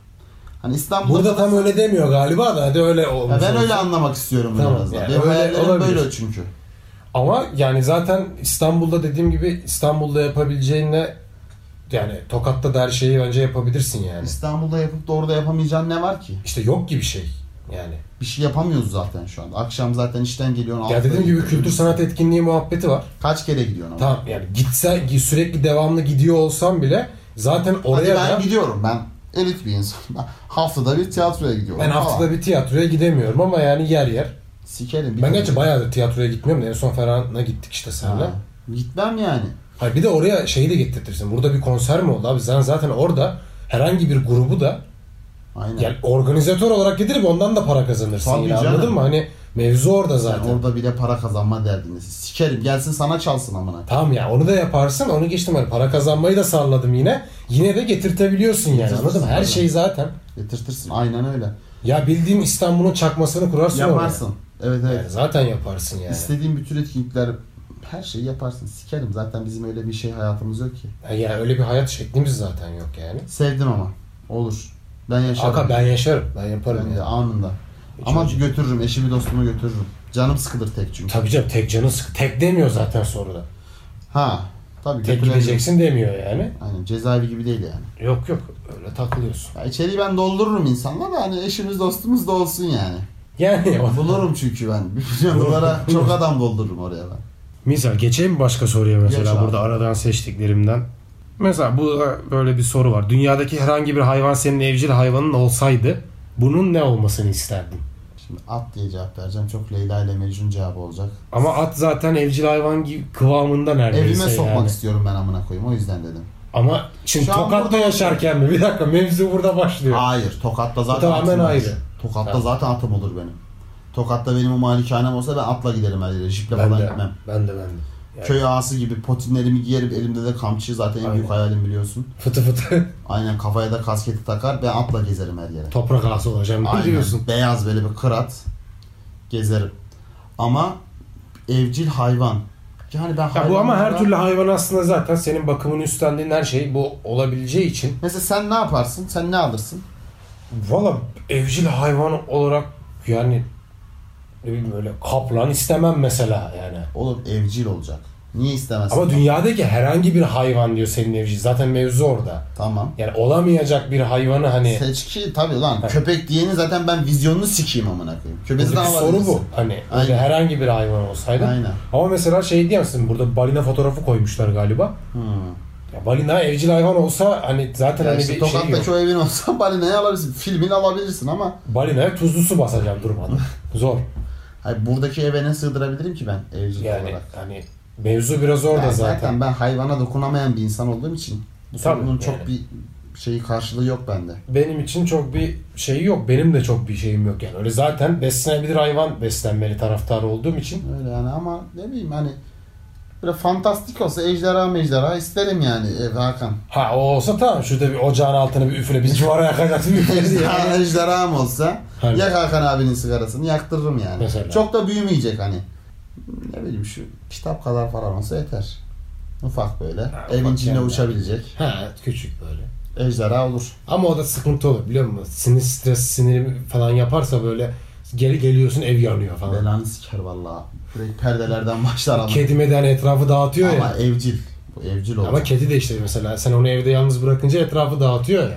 [SPEAKER 1] Hani İstanbul'da
[SPEAKER 2] Burada tam öyle demiyor galiba da hadi öyle
[SPEAKER 1] Ya
[SPEAKER 2] olmuş.
[SPEAKER 1] ben
[SPEAKER 2] olsun.
[SPEAKER 1] öyle anlamak istiyorum
[SPEAKER 2] Tamam,
[SPEAKER 1] biraz da.
[SPEAKER 2] yani
[SPEAKER 1] Benim
[SPEAKER 2] öyle
[SPEAKER 1] hayallerim
[SPEAKER 2] olabilir.
[SPEAKER 1] böyle çünkü.
[SPEAKER 2] Ama yani zaten İstanbul'da dediğim gibi İstanbul'da yapabileceğinle yani Tokat'ta da her şeyi önce yapabilirsin yani.
[SPEAKER 1] İstanbul'da yapıp da orada yapamayacağın ne var ki?
[SPEAKER 2] İşte yok gibi şey yani.
[SPEAKER 1] Bir şey yapamıyoruz zaten şu anda. Akşam zaten işten geliyorsun.
[SPEAKER 2] Ya
[SPEAKER 1] altıda
[SPEAKER 2] dediğim gibi
[SPEAKER 1] gidiyorsun.
[SPEAKER 2] kültür sanat etkinliği muhabbeti var.
[SPEAKER 1] Kaç kere gidiyorsun ama?
[SPEAKER 2] Tamam yani gitse sürekli devamlı gidiyor olsam bile zaten
[SPEAKER 1] Hadi
[SPEAKER 2] oraya
[SPEAKER 1] ben
[SPEAKER 2] da
[SPEAKER 1] gidiyorum ben. Elit bir insanım. Ben haftada bir tiyatroya gidiyorum.
[SPEAKER 2] ben haftada bir tiyatroya gidemiyorum ama yani yer yer.
[SPEAKER 1] Sikerim. bir
[SPEAKER 2] Ben
[SPEAKER 1] kere.
[SPEAKER 2] gerçi bayağıdır tiyatroya gitmiyorum da en son Ferhan'la gittik işte seninle.
[SPEAKER 1] Ha. Gitmem yani.
[SPEAKER 2] Hayır bir de oraya şeyi de getirtirsin. Burada bir konser mi oldu abi? Sen zaten orada herhangi bir grubu da
[SPEAKER 1] Aynen.
[SPEAKER 2] yani organizatör olarak getirip ondan da para kazanırsın.
[SPEAKER 1] Tabii
[SPEAKER 2] yine,
[SPEAKER 1] canım.
[SPEAKER 2] anladın mı? Hani mevzu orada
[SPEAKER 1] Sen
[SPEAKER 2] zaten.
[SPEAKER 1] orada bile para kazanma derdiniz. Sikerim gelsin sana çalsın amına.
[SPEAKER 2] Tamam ya onu da yaparsın. Onu geçtim hani para kazanmayı da salladım yine. Yine de getirtebiliyorsun yani
[SPEAKER 1] Getirtirsin
[SPEAKER 2] anladın mı? Her
[SPEAKER 1] tabii.
[SPEAKER 2] şey zaten.
[SPEAKER 1] Getirtirsin. Aynen öyle.
[SPEAKER 2] Ya bildiğin İstanbul'un çakmasını kurarsın
[SPEAKER 1] Yaparsın. Evet
[SPEAKER 2] oraya.
[SPEAKER 1] evet.
[SPEAKER 2] Yani zaten yaparsın yani.
[SPEAKER 1] İstediğin bütün etkinlikler her şeyi yaparsın. Sikerim zaten bizim öyle bir şey hayatımız yok ki.
[SPEAKER 2] Ya Yani öyle bir hayat şeklimiz zaten yok yani.
[SPEAKER 1] Sevdim ama. Olur. Ben yaşarım.
[SPEAKER 2] Aka ben E, yaşarım. Ben yaparım
[SPEAKER 1] Ben de
[SPEAKER 2] yani.
[SPEAKER 1] anında.
[SPEAKER 2] Hiç
[SPEAKER 1] ama
[SPEAKER 2] acı-
[SPEAKER 1] götürürüm. Eşimi dostumu götürürüm. Canım sıkılır tek çünkü.
[SPEAKER 2] Tabii canım tek canın sıkı. Tek demiyor zaten sonra da.
[SPEAKER 1] Ha. Tabii
[SPEAKER 2] Tek
[SPEAKER 1] götürebilirim.
[SPEAKER 2] gideceksin demiyor yani.
[SPEAKER 1] Aynen cezaevi gibi değil yani.
[SPEAKER 2] Yok yok öyle takılıyorsun.
[SPEAKER 1] Ya içeriği ben doldururum insanla da hani eşimiz dostumuz da olsun yani.
[SPEAKER 2] Yani o-
[SPEAKER 1] Bulurum çünkü ben. Bir milyon dolara çok adam doldururum oraya ben.
[SPEAKER 3] Misal geçeyim mi başka soruya mesela
[SPEAKER 1] Geç abi.
[SPEAKER 3] burada aradan seçtiklerimden. Mesela bu e, böyle bir soru var. Dünyadaki herhangi bir hayvan senin evcil hayvanın olsaydı bunun ne olmasını isterdin?
[SPEAKER 1] Şimdi at diye cevap vereceğim. Çok Leyla ile Mecnun cevabı olacak.
[SPEAKER 3] Ama at zaten evcil hayvan gibi kıvamında neredeyse
[SPEAKER 1] Evime sokmak
[SPEAKER 3] yani.
[SPEAKER 1] istiyorum ben amına koyayım. O yüzden dedim.
[SPEAKER 3] Ama şimdi
[SPEAKER 1] Şu an
[SPEAKER 3] Tokat'ta
[SPEAKER 1] burada-
[SPEAKER 3] yaşarken mi? Bir dakika mevzu burada başlıyor.
[SPEAKER 1] Hayır. Tokat'ta zaten
[SPEAKER 2] Tamamen
[SPEAKER 1] atım olur.
[SPEAKER 2] ayrı.
[SPEAKER 1] Tokat'ta
[SPEAKER 2] Tamam.
[SPEAKER 1] zaten atım olur benim. Tokat'ta benim o malikanem olsa ben atla giderim her yere. Jiple
[SPEAKER 2] Ben
[SPEAKER 1] falan
[SPEAKER 2] de,
[SPEAKER 1] gitmem.
[SPEAKER 2] ben de ben de. Yani
[SPEAKER 1] Köy ağası gibi potinlerimi giyerim. Elimde de kamçı zaten en büyük hayalim biliyorsun.
[SPEAKER 2] Fıtı fıtı
[SPEAKER 1] Aynen kafaya da kasketi takar. Ben atla gezerim her yere.
[SPEAKER 3] Toprak ağası olacağım
[SPEAKER 1] Aynen.
[SPEAKER 3] biliyorsun.
[SPEAKER 1] Beyaz böyle bir kırat. Gezerim. Ama evcil hayvan. Yani ben
[SPEAKER 2] Ya bu ama her
[SPEAKER 1] hayvanlara-
[SPEAKER 2] türlü hayvan aslında zaten senin bakımını üstlendiğin her şey bu olabileceği için.
[SPEAKER 1] Mesela sen ne yaparsın? Sen ne alırsın?
[SPEAKER 2] Valla evcil hayvan olarak yani ne bileyim öyle kaplan istemem mesela yani.
[SPEAKER 1] Oğlum evcil olacak. Niye istemezsin?
[SPEAKER 2] Ama dünyadaki herhangi bir hayvan diyor senin evcil. Zaten mevzu orada.
[SPEAKER 1] Tamam.
[SPEAKER 2] Yani olamayacak bir hayvanı hani
[SPEAKER 1] Seçki tabii lan.
[SPEAKER 2] Evet.
[SPEAKER 1] Köpek diyeni zaten ben vizyonunu sikeyim amına koyayım. Köpeği zaten
[SPEAKER 2] Buradaki soru
[SPEAKER 1] alabilirsin.
[SPEAKER 2] bu. Hani
[SPEAKER 1] Aynen.
[SPEAKER 2] öyle herhangi bir hayvan olsaydı.
[SPEAKER 1] Aynen.
[SPEAKER 2] Ama mesela şey diyemezsin burada balina fotoğrafı koymuşlar galiba.
[SPEAKER 1] Hmm.
[SPEAKER 2] Ya balina evcil hayvan olsa hani zaten
[SPEAKER 1] Ya
[SPEAKER 2] hani
[SPEAKER 1] işte
[SPEAKER 2] bir şey
[SPEAKER 1] Tokat'ta
[SPEAKER 2] yok.
[SPEAKER 1] çoğu evin olsa balinayı alabilirsin. Filmini alabilirsin ama
[SPEAKER 2] Balinaya tuzlu su basacağım durmadan. Zor.
[SPEAKER 1] hayır, buradaki eve ne sığdırabilirim ki ben evcil
[SPEAKER 2] Yani
[SPEAKER 1] olarak?
[SPEAKER 2] hani mevzu biraz orada
[SPEAKER 1] Yani
[SPEAKER 2] zaten.
[SPEAKER 1] zaten ben hayvana dokunamayan bir insan olduğum için bu
[SPEAKER 2] Tabii,
[SPEAKER 1] sorunun çok
[SPEAKER 2] yani.
[SPEAKER 1] bir şeyi karşılığı yok bende.
[SPEAKER 2] Benim için çok bir şeyi yok. Benim de çok bir şeyim yok yani. Öyle zaten beslenebilir hayvan beslenmeli taraftarı olduğum için.
[SPEAKER 1] Öyle yani ama ne bileyim hani böyle fantastik olsa ejderha mejderha isterim yani ev Hakan.
[SPEAKER 2] Ha o olsa tamam şurada bir ocağın altını bir üfle bir civara yakacaksın üfle diye.
[SPEAKER 1] Ejderha, ejderham olsa
[SPEAKER 2] Harbi.
[SPEAKER 1] yak Hakan abinin sigarasını yaktırırım yani.
[SPEAKER 2] Mesela.
[SPEAKER 1] Çok da büyümeyecek hani. Ne bileyim şu kitap kadar falan olsa yeter. Ufak böyle. Evin
[SPEAKER 2] ufak
[SPEAKER 1] içinde
[SPEAKER 2] yani.
[SPEAKER 1] uçabilecek.
[SPEAKER 2] Ha küçük böyle.
[SPEAKER 1] Ejderha olur.
[SPEAKER 2] Ama o da sıkıntı olur biliyor musun? Sinir stres sinir falan yaparsa böyle geri geliyorsun ev yanıyor falan.
[SPEAKER 1] Belanı siker valla. Direkt perdelerden başlar ama.
[SPEAKER 2] Kedi meden etrafı dağıtıyor
[SPEAKER 1] Ama
[SPEAKER 2] ya.
[SPEAKER 1] evcil. Bu evcil olur.
[SPEAKER 2] Ama kedi de işte mesela sen onu evde yalnız bırakınca etrafı dağıtıyor ya.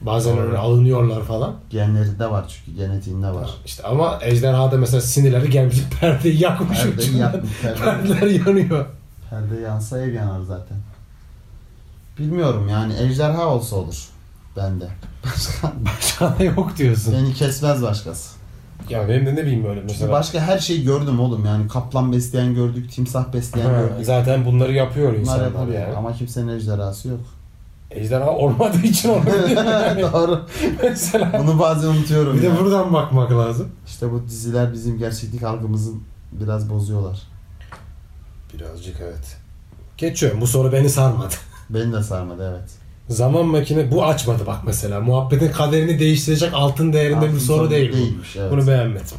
[SPEAKER 2] Bazen öyle alınıyorlar falan.
[SPEAKER 1] Genlerinde var çünkü genetiğinde var.
[SPEAKER 2] İşte ama ejderha da mesela sinirleri gelmiş perdeyi yakmış.
[SPEAKER 1] Perdeyi
[SPEAKER 2] ucundan.
[SPEAKER 1] yakmış, perde.
[SPEAKER 2] Perdeler yanıyor.
[SPEAKER 1] Perde yansa ev yanar zaten. Bilmiyorum yani ejderha olsa olur. Bende. Başka,
[SPEAKER 2] Başka da yok diyorsun.
[SPEAKER 1] beni kesmez başkası.
[SPEAKER 2] Ya benim de ne bileyim öyle
[SPEAKER 1] Çünkü
[SPEAKER 2] mesela.
[SPEAKER 1] başka her şeyi gördüm oğlum yani. Kaplan besleyen gördük, timsah besleyen
[SPEAKER 2] Ha,
[SPEAKER 1] gördük.
[SPEAKER 2] zaten bunları yapıyor
[SPEAKER 1] Bunlar
[SPEAKER 2] insanlar
[SPEAKER 1] yapabiliyor
[SPEAKER 2] yani.
[SPEAKER 1] ama kimsenin ejderhası yok.
[SPEAKER 2] Ejderha olmadığı için olabilir.
[SPEAKER 1] Doğru.
[SPEAKER 2] mesela.
[SPEAKER 1] Bunu bazen unutuyorum
[SPEAKER 2] Bir
[SPEAKER 1] ya.
[SPEAKER 2] de buradan bakmak lazım.
[SPEAKER 1] İşte bu diziler bizim gerçeklik algımızı biraz bozuyorlar.
[SPEAKER 2] Birazcık evet. Geçiyorum. Bu soru beni sarmadı.
[SPEAKER 1] Beni de sarmadı evet.
[SPEAKER 2] Zaman makine bu açmadı bak mesela. Muhabbetin kaderini değiştirecek altın değerinde
[SPEAKER 1] Altın
[SPEAKER 2] bir soru
[SPEAKER 1] soru
[SPEAKER 2] değil bu.
[SPEAKER 1] değilmiş, evet.
[SPEAKER 2] Bunu beğenmedim.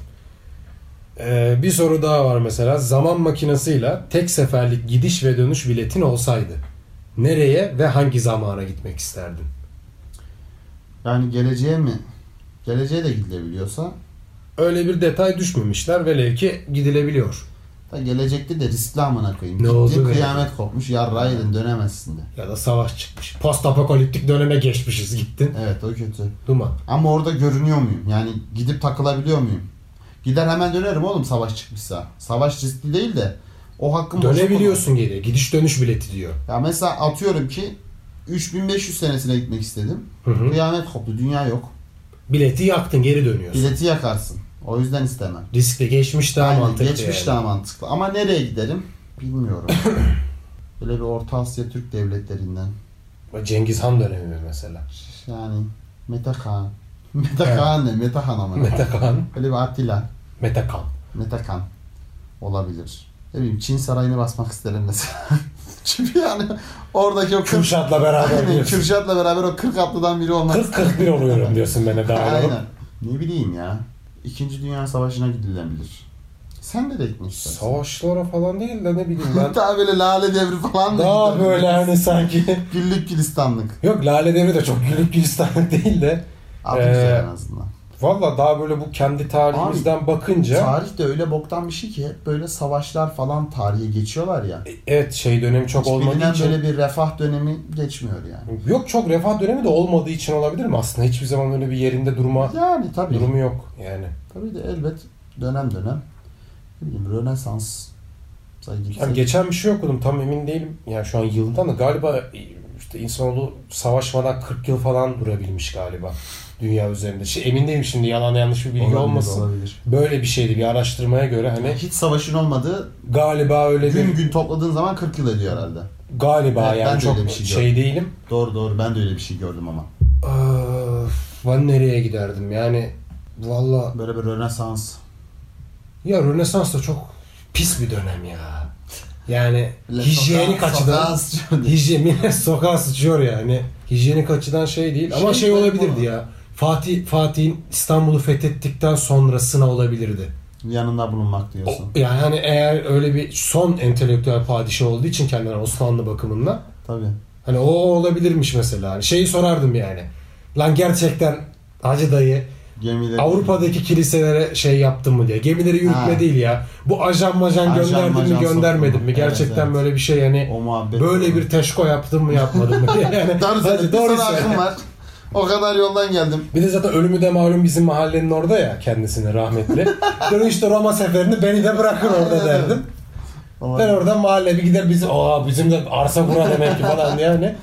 [SPEAKER 2] Ee, bir soru daha var mesela. Zaman makinesiyle tek seferlik gidiş ve dönüş biletin olsaydı nereye ve hangi zamana gitmek isterdin?
[SPEAKER 1] Yani geleceğe mi? Geleceğe de gidilebiliyorsa
[SPEAKER 2] Öyle bir detay düşmemişler velev ki gidilebiliyor.
[SPEAKER 1] Da gelecekti de riskli amına koyayım.
[SPEAKER 3] Ne
[SPEAKER 1] Gitti,
[SPEAKER 3] oldu be?
[SPEAKER 1] kıyamet kopmuş. Yarrağı yedin dönemezsin de.
[SPEAKER 3] Ya da savaş çıkmış. Post apokaliptik döneme geçmişiz gittin.
[SPEAKER 1] Evet o kötü.
[SPEAKER 3] Duman.
[SPEAKER 1] Ama orada görünüyor muyum? Yani gidip takılabiliyor muyum? Gider hemen dönerim oğlum savaş çıkmışsa. Savaş riskli değil de o hakkım boşa
[SPEAKER 3] Dönebiliyorsun geriye. Gidiş dönüş bileti diyor.
[SPEAKER 1] kullan- Ya mesela atıyorum ki 3500 senesine gitmek istedim.
[SPEAKER 3] Hı hı.
[SPEAKER 1] Kıyamet koptu. Dünya yok.
[SPEAKER 3] Bileti yaktın geri dönüyorsun.
[SPEAKER 1] Bileti yakarsın. O yüzden istemem.
[SPEAKER 3] Riskli geçmiş daha
[SPEAKER 1] Aynen,
[SPEAKER 3] mantıklı
[SPEAKER 1] geçmiş
[SPEAKER 3] yani.
[SPEAKER 1] daha mantıklı. Ama nereye giderim? Bilmiyorum. Böyle bir Orta Asya Türk devletlerinden.
[SPEAKER 3] Cengiz Han dönemi mi mesela.
[SPEAKER 1] Yani Mete Kağan. Mete
[SPEAKER 3] Evet.
[SPEAKER 1] Kağan ne? Mete Han ama. ne?
[SPEAKER 3] Metakan.
[SPEAKER 1] Böyle bir Attila.
[SPEAKER 3] Metakan.
[SPEAKER 1] Mete Kan olabilir. Ne bileyim Çin sarayını basmak isterim mesela. Çünkü yani oradaki o kırk...
[SPEAKER 2] Kürşat'la beraber
[SPEAKER 1] Aynen,
[SPEAKER 2] diyorsun.
[SPEAKER 1] Kürşat'la beraber o 40 atlıdan biri olmak
[SPEAKER 2] 40-41 oluyorum diyorsun bana daha olup.
[SPEAKER 1] Aynen. Ne bileyim ya. İkinci Dünya Savaşı'na gidilebilir. Sen de ekmek istersin.
[SPEAKER 2] Savaşlara falan değil de ne bileyim ben.
[SPEAKER 1] Daha böyle lale devri falan da
[SPEAKER 2] daha
[SPEAKER 1] gidelim.
[SPEAKER 2] böyle hani sanki.
[SPEAKER 1] Güllük gülistanlık.
[SPEAKER 2] Yok Lale Devri de çok gülüp gülistanlık değil de.
[SPEAKER 1] Adı
[SPEAKER 2] Ee,
[SPEAKER 1] güzel en azından.
[SPEAKER 2] Valla daha böyle bu kendi tarihimizden bakınca.
[SPEAKER 1] Tarih de öyle boktan bir şey ki hep böyle savaşlar falan tarihe geçiyorlar ya.
[SPEAKER 2] evet şey dönemi çok
[SPEAKER 1] Hiç
[SPEAKER 2] olmadığı
[SPEAKER 1] bilinen
[SPEAKER 2] için.
[SPEAKER 1] böyle bir refah dönemi geçmiyor yani.
[SPEAKER 2] Yok çok refah dönemi de olmadığı için olabilir mi? Aslında hiçbir zaman öyle bir yerinde durma
[SPEAKER 1] Yani tabii.
[SPEAKER 2] durumu yok yani.
[SPEAKER 1] Tabii de elbet dönem dönem ne bileyim Rönesans gitsek.
[SPEAKER 2] Yani geçen bir şey okudum tam emin değilim. Yani şu an yıldan da galiba e, işte insanoğlu savaşmadan 40 yıl falan durabilmiş galiba dünya üzerinde. Şey, emin değilim şimdi yalan yanlış bir bilgi
[SPEAKER 1] Olabilir,
[SPEAKER 2] olmasın.
[SPEAKER 1] Olabilir.
[SPEAKER 2] Böyle bir şeydi bir araştırmaya göre hani
[SPEAKER 1] Hiç savaşın olmadığı
[SPEAKER 2] galiba öyle bir
[SPEAKER 1] gün gün topladığın zaman 40 yıl ediyor herhalde.
[SPEAKER 2] galiba
[SPEAKER 1] Evet, ben
[SPEAKER 2] yani
[SPEAKER 1] de
[SPEAKER 2] çok
[SPEAKER 1] öyle bir şey
[SPEAKER 2] şey, değilim.
[SPEAKER 1] Doğru doğru ben de öyle bir şey gördüm ama.
[SPEAKER 3] Öf, ben nereye giderdim yani valla
[SPEAKER 1] Böyle bir Rönesans.
[SPEAKER 3] ya Rönesans da çok pis bir dönem ya. Yani
[SPEAKER 1] Böyle
[SPEAKER 3] hijyenik
[SPEAKER 1] sokağa- sokağa
[SPEAKER 3] açıdan
[SPEAKER 1] sıçıyor diye.
[SPEAKER 3] hijyenik sokağa sıçıyor yani. Hijyenik açıdan şey değil ama
[SPEAKER 1] Şey
[SPEAKER 3] şey
[SPEAKER 1] değil
[SPEAKER 3] olabilirdi
[SPEAKER 1] bu.
[SPEAKER 3] ya. Fatih Fatih'in İstanbul'u fethettikten sonrasına olabilirdi.
[SPEAKER 1] Yanında bulunmak
[SPEAKER 3] O-
[SPEAKER 1] diyorsun.
[SPEAKER 3] yani hani eğer öyle bir son entelektüel padişah olduğu için kendine Osmanlı bakımından
[SPEAKER 1] Tabii.
[SPEAKER 3] Hani o olabilirmiş mesela. Hani şeyi sorardım yani. Lan gerçekten Hacı dayı
[SPEAKER 1] Gemileri.
[SPEAKER 3] Avrupa'daki kiliselere şey yaptın mı diye. Gemileri yürütme
[SPEAKER 1] Ha.
[SPEAKER 3] değil ya. Bu ajan majan
[SPEAKER 1] Ajan
[SPEAKER 3] gönderdin mi
[SPEAKER 1] majan
[SPEAKER 3] göndermedin
[SPEAKER 1] sokma.
[SPEAKER 3] mi? Gerçekten
[SPEAKER 1] Evet, evet.
[SPEAKER 3] böyle bir şey hani
[SPEAKER 1] o muhabbet.
[SPEAKER 3] böyle bir teşko yaptın mı yapmadın mı diye. Yani
[SPEAKER 1] Doğru
[SPEAKER 3] hadi
[SPEAKER 1] söyle.
[SPEAKER 3] doğru
[SPEAKER 1] bir sana
[SPEAKER 3] söyle.
[SPEAKER 1] hakkım var. O kadar yoldan geldim.
[SPEAKER 2] Bir de zaten ölümü de malum bizim mahallenin orada ya kendisini rahmetli. Dönüşte Roma seferini beni de bırakın orada
[SPEAKER 1] Aynen.
[SPEAKER 2] derdim. Ben
[SPEAKER 1] Olabilir.
[SPEAKER 2] oradan mahalle bir gider bizim aa bizim de arsa bura demek ki falan yani.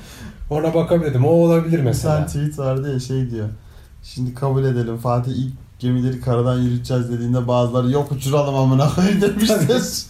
[SPEAKER 2] Ona bakabilirdim. O olabilir
[SPEAKER 1] Bir tane
[SPEAKER 2] mesela.
[SPEAKER 1] tweet vardı ya şey diyor. Şimdi kabul edelim Fatih ilk gemileri karadan yürüteceğiz dediğinde bazıları yok uçuralım amına koyayım demiştir.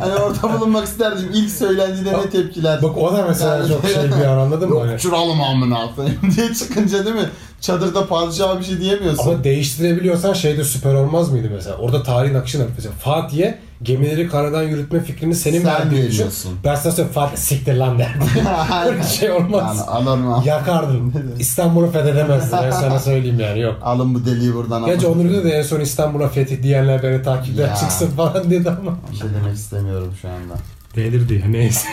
[SPEAKER 1] hani orada bulunmak isterdim. İlk söylendiğinde ne tepkiler?
[SPEAKER 2] Bak o da mesela
[SPEAKER 1] Yani-
[SPEAKER 2] çok şey bir yer anladın mı?
[SPEAKER 1] yok
[SPEAKER 2] Hani-
[SPEAKER 1] uçuralım amına koyayım diye çıkınca değil mi? Çadırda padişaha bir şey diyemiyorsun.
[SPEAKER 2] Ama değiştirebiliyorsan şey de süper olmaz mıydı mesela? Orada tarihin akışını mesela Fatih'e gemileri karadan yürütme fikrini senin
[SPEAKER 1] Sen
[SPEAKER 2] verdiğin için.
[SPEAKER 1] veriyorsun.
[SPEAKER 2] Ben sana söyleyeyim Fatih siktir lan derdim. Böyle bir şey
[SPEAKER 1] yani
[SPEAKER 2] olmaz.
[SPEAKER 1] alır mı?
[SPEAKER 2] Yakardım. İstanbul'u fethedemezdin. Ben sana söyleyeyim yani yok.
[SPEAKER 1] Alın bu deliği buradan
[SPEAKER 2] Gerçi
[SPEAKER 1] amına
[SPEAKER 2] onurda da en son İstanbul'a fethi diyenler beni takipten
[SPEAKER 1] Ya.
[SPEAKER 2] çıksın falan dedi ama.
[SPEAKER 1] Bir şey demek istemiyorum şu anda.
[SPEAKER 3] Delirdi ya neyse.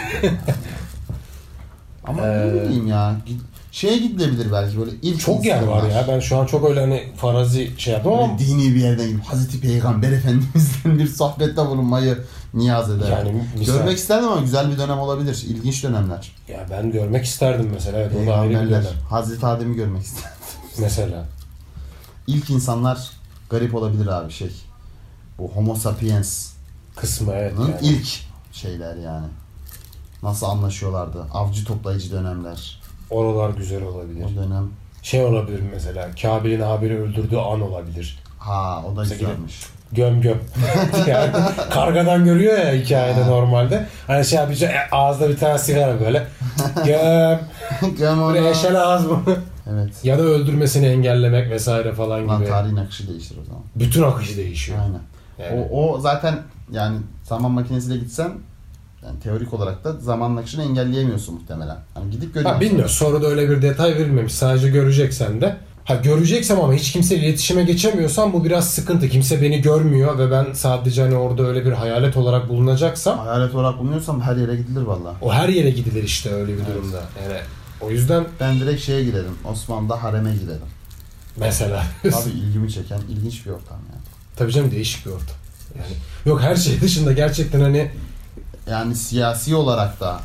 [SPEAKER 1] Ama
[SPEAKER 2] Ee,
[SPEAKER 1] ne bileyim ya. gid- Şeye gidilebilir belki böyle ilk
[SPEAKER 2] Çok yer var
[SPEAKER 1] insanlar.
[SPEAKER 2] ya. Ben şu an çok öyle hani farazi şey yaptım ama
[SPEAKER 1] Böyle dini bir yerden gibi Hazreti Peygamber Efendimiz'den bir sohbette bulunmayı niyaz eder.
[SPEAKER 2] Yani misal-
[SPEAKER 1] Görmek isterdim ama güzel bir dönem olabilir. İlginç dönemler.
[SPEAKER 2] ya ben görmek isterdim mesela. Evet, o da ayrı bir
[SPEAKER 1] Peygamberler.
[SPEAKER 2] dönem.
[SPEAKER 1] Hazreti Adem'i görmek isterdim.
[SPEAKER 2] Mesela.
[SPEAKER 1] İlk insanlar garip olabilir abi şey. Bu Homo sapiens'ın
[SPEAKER 2] Kısmı evet. Yani.
[SPEAKER 1] ilk şeyler yani. Nasıl anlaşıyorlardı? Avcı toplayıcı dönemler.
[SPEAKER 2] Oralar güzel olabilir.
[SPEAKER 1] O dönem.
[SPEAKER 2] Şey olabilir mesela. Kabil'in haberi öldürdüğü an olabilir.
[SPEAKER 1] Ha o da
[SPEAKER 2] Mesela
[SPEAKER 1] güzelmiş.
[SPEAKER 2] Göm göm. yani kargadan görüyor ya hikayede normalde. Hani şey yapacak e, ağızda bir tane sigara böyle. Göm.
[SPEAKER 1] Come on.
[SPEAKER 2] Böyle eşel ağız bunu.
[SPEAKER 1] Evet.
[SPEAKER 3] ya da öldürmesini engellemek vesaire falan
[SPEAKER 1] Lan
[SPEAKER 3] gibi.
[SPEAKER 1] tarihin akışı değişir o zaman.
[SPEAKER 3] Bütün akışı değişiyor.
[SPEAKER 1] Aynen.
[SPEAKER 3] Yani.
[SPEAKER 1] O, o zaten yani zaman makinesiyle gitsen yani teorik olarak da zaman akışını engelleyemiyorsun muhtemelen. Hani gidip
[SPEAKER 3] Ha,
[SPEAKER 1] görüyorsun.
[SPEAKER 3] bilmiyorum. Soruda öyle bir detay verilmemiş. Sadece göreceksen de. Ha göreceksem ama hiç kimseyle iletişime geçemiyorsam bu biraz sıkıntı. Kimse beni görmüyor ve ben sadece hani orada öyle bir hayalet olarak bulunacaksam
[SPEAKER 1] Hayalet olarak bulunuyorsam her yere gidilir valla.
[SPEAKER 3] o her yere gidilir işte öyle bir durumda. Yani o yüzden
[SPEAKER 1] Ben direkt şeye girerim. Osmanlı'da hareme girerim.
[SPEAKER 3] mesela
[SPEAKER 1] Tabii ilgimi çeken ilginç bir ortam yani.
[SPEAKER 3] tabii canım değişik bir ortam.
[SPEAKER 2] Yani yok her şey dışında gerçekten hani
[SPEAKER 1] Yani siyasi olarak da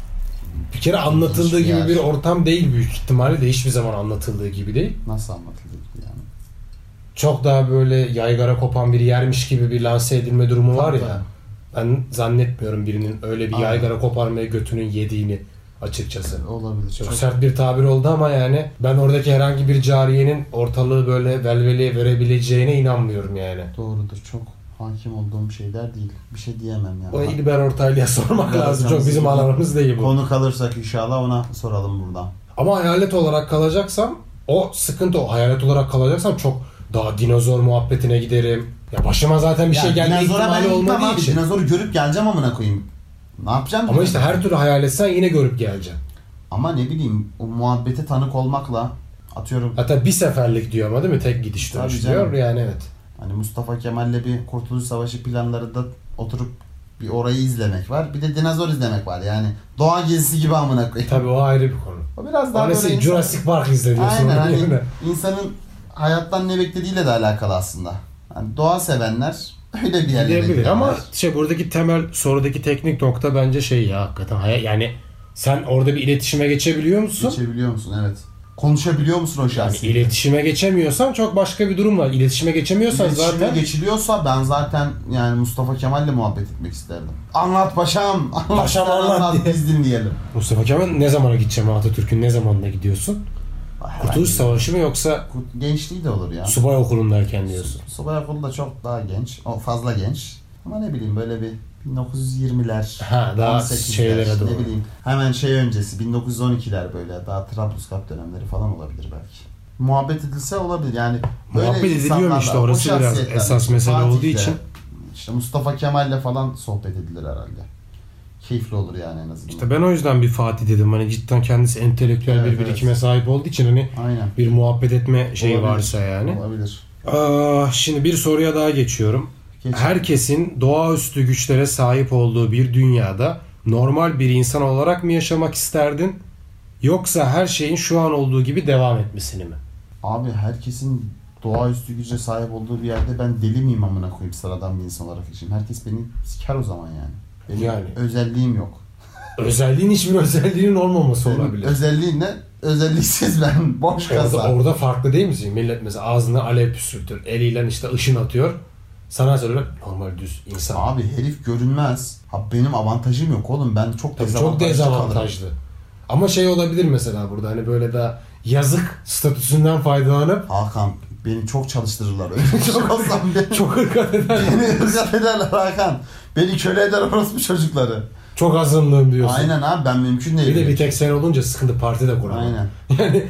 [SPEAKER 2] bir kere anlatıldığı
[SPEAKER 1] Hiçbir
[SPEAKER 2] gibi
[SPEAKER 1] yer.
[SPEAKER 2] bir ortam değil büyük ihtimalle de hiçbir zaman anlatıldığı gibi değil.
[SPEAKER 1] nasıl anlatılır yani.
[SPEAKER 2] Çok daha böyle yaygara kopan bir yermiş gibi bir lanse edilme durumu var
[SPEAKER 1] Tabii.
[SPEAKER 2] ya. Ben zannetmiyorum birinin öyle bir
[SPEAKER 1] Aynen.
[SPEAKER 2] yaygara koparmaya götünün yediğini açıkçası.
[SPEAKER 1] Olabilir.
[SPEAKER 2] Çok
[SPEAKER 1] Çok,
[SPEAKER 2] sert bir tabir oldu ama yani ben oradaki herhangi bir cariyenin ortalığı böyle velveleye verebileceğine inanmıyorum yani.
[SPEAKER 1] doğrudur. Çok hakim olduğum şeyler değil. Bir şey diyemem yani.
[SPEAKER 2] O İlber Ortaylı'ya sormak
[SPEAKER 1] Evet,
[SPEAKER 2] lazım.
[SPEAKER 1] yalnız
[SPEAKER 2] Çok bizim
[SPEAKER 1] bu-
[SPEAKER 2] alanımız değil bu.
[SPEAKER 1] Konu kalırsak inşallah ona soralım buradan.
[SPEAKER 2] Ama hayalet olarak kalacaksam o sıkıntı o. Hayalet olarak kalacaksam çok daha dinozor muhabbetine giderim. Ya başıma zaten bir şey gelme
[SPEAKER 1] dinozora
[SPEAKER 2] ihtimali
[SPEAKER 1] ben gitmem
[SPEAKER 2] olmadığı
[SPEAKER 1] abi.
[SPEAKER 2] için.
[SPEAKER 1] Dinozoru görüp geleceğim amına koyayım. Ne yapacağım?
[SPEAKER 2] Ama
[SPEAKER 1] ki?
[SPEAKER 2] işte her türlü hayal etsen yine görüp geleceksin.
[SPEAKER 1] Ama ne bileyim o muhabbete tanık olmakla atıyorum
[SPEAKER 2] Hatta bir seferlik diyor ama değil mi? Tek gidiş
[SPEAKER 1] Tabii
[SPEAKER 2] dönüş
[SPEAKER 1] canım.
[SPEAKER 2] diyor. Yani evet.
[SPEAKER 1] hani Mustafa Kemal'le bir Kurtuluş Savaşı planlarında oturup bir orayı izlemek var. Bir de dinozor izlemek var. Yani doğa gezisi gibi amına koyayım.
[SPEAKER 2] Tabii o ayrı bir konu.
[SPEAKER 1] O biraz daha böyle
[SPEAKER 2] Annesi
[SPEAKER 1] insan-
[SPEAKER 2] Jurassic Park izlediyorsun.
[SPEAKER 1] Aynen hani
[SPEAKER 2] değil mi?
[SPEAKER 1] insanın hayattan ne beklediğiyle de alakalı aslında. Hani doğa sevenler öyle bir yerlere
[SPEAKER 2] Gidebilir
[SPEAKER 1] giderler.
[SPEAKER 2] ama şey buradaki temel sorudaki teknik nokta bence şey ya hakikaten hayal yani sen orada bir iletişime geçebiliyor musun?
[SPEAKER 1] geçebiliyor musun? Evet. Konuşabiliyor musun o
[SPEAKER 2] Yani
[SPEAKER 1] şahsi?
[SPEAKER 2] iletişime geçemiyorsan çok başka bir durum var. İletişime geçemiyorsan
[SPEAKER 1] İletişime
[SPEAKER 2] zaten
[SPEAKER 1] geçiliyorsa ben zaten yani Mustafa Kemal'le muhabbet etmek isterdim. Anlat paşam, anlat,
[SPEAKER 2] Paşam
[SPEAKER 1] sen
[SPEAKER 2] anlat diye.
[SPEAKER 1] biz dinleyelim.
[SPEAKER 2] Mustafa Kemal ne zamana gideceğim Atatürk'ün ne zamanına gidiyorsun? Kurtuluş Savaşı mı yoksa
[SPEAKER 1] Kut- Gençliği de olur ya.
[SPEAKER 2] subay okulundayken diyorsun?
[SPEAKER 1] Subay Okulu da çok daha genç. O fazla genç. Ama ne bileyim böyle bir 1920'ler.
[SPEAKER 2] Ha, daha
[SPEAKER 1] 18'ler,
[SPEAKER 2] şeylere doğru.
[SPEAKER 1] Ne bileyim hemen şey öncesi 1912'ler böyle daha Trablusgarp dönemleri falan olabilir belki. Muhabbet edilse olabilir yani. böyle
[SPEAKER 2] Muhabbet ediliyor mu
[SPEAKER 1] insanlarla,
[SPEAKER 2] işte,
[SPEAKER 1] o
[SPEAKER 2] orası biraz
[SPEAKER 1] şahsiyetlerle,
[SPEAKER 2] esas mesele
[SPEAKER 1] Fatih'le,
[SPEAKER 2] olduğu için.
[SPEAKER 1] işte Mustafa Kemal'le falan sohbet edilir herhalde. Keyifli olur yani en azından.
[SPEAKER 2] İşte ben o yüzden bir Fatih dedim. Hani cidden kendisi entelektüel
[SPEAKER 1] Evet,
[SPEAKER 2] bir birikime
[SPEAKER 1] evet.
[SPEAKER 2] sahip olduğu için hani
[SPEAKER 1] Aynen.
[SPEAKER 2] bir muhabbet etme şeyi
[SPEAKER 1] Olabilir.
[SPEAKER 2] varsa yani.
[SPEAKER 1] Olabilir.
[SPEAKER 2] Aa, şimdi bir soruya daha geçiyorum.
[SPEAKER 1] Geç.
[SPEAKER 2] Herkesin doğaüstü güçlere sahip olduğu bir dünyada normal bir insan olarak mı yaşamak isterdin? Yoksa her şeyin şu an olduğu gibi devam etmesini mi?
[SPEAKER 1] Abi herkesin doğaüstü güce sahip olduğu bir yerde ben deli miyim amına koyayım sıradan bir insan olarak için. Herkes beni siker o zaman yani. Benim
[SPEAKER 2] Yani.
[SPEAKER 1] özelliğim yok.
[SPEAKER 2] Özelliğin hiçbir özelliğinin olmaması
[SPEAKER 1] Benim
[SPEAKER 2] olabilir.
[SPEAKER 1] özelliğin ne? Özelliksiz ben. Boş
[SPEAKER 2] Orada,
[SPEAKER 1] kasa.
[SPEAKER 2] orada farklı değil misin? Millet mesela ağzına alev püskürtür, eliyle işte ışın atıyor. Sana söyle normal düz insan.
[SPEAKER 1] Abi herif görünmez. Ha benim avantajım yok oğlum. Ben çok
[SPEAKER 2] Tabii
[SPEAKER 1] dezavantajlı
[SPEAKER 2] çok
[SPEAKER 1] kalırım.
[SPEAKER 2] dezavantajlı. Ama şey olabilir mesela burada hani böyle daha yazık statüsünden faydalanıp
[SPEAKER 1] Hakan beni çok çalıştırırlar. Öyle çok olsam beni,
[SPEAKER 2] çok hırkat eden
[SPEAKER 1] beni ırgat ederler Hakan. Beni köle eder orospu çocukları.
[SPEAKER 2] çok azınlığım diyorsun.
[SPEAKER 1] Aynen abi ben mümkün değil.
[SPEAKER 2] Bir de bir tek sen olunca sıkıntı parti de kuramam.
[SPEAKER 1] Aynen.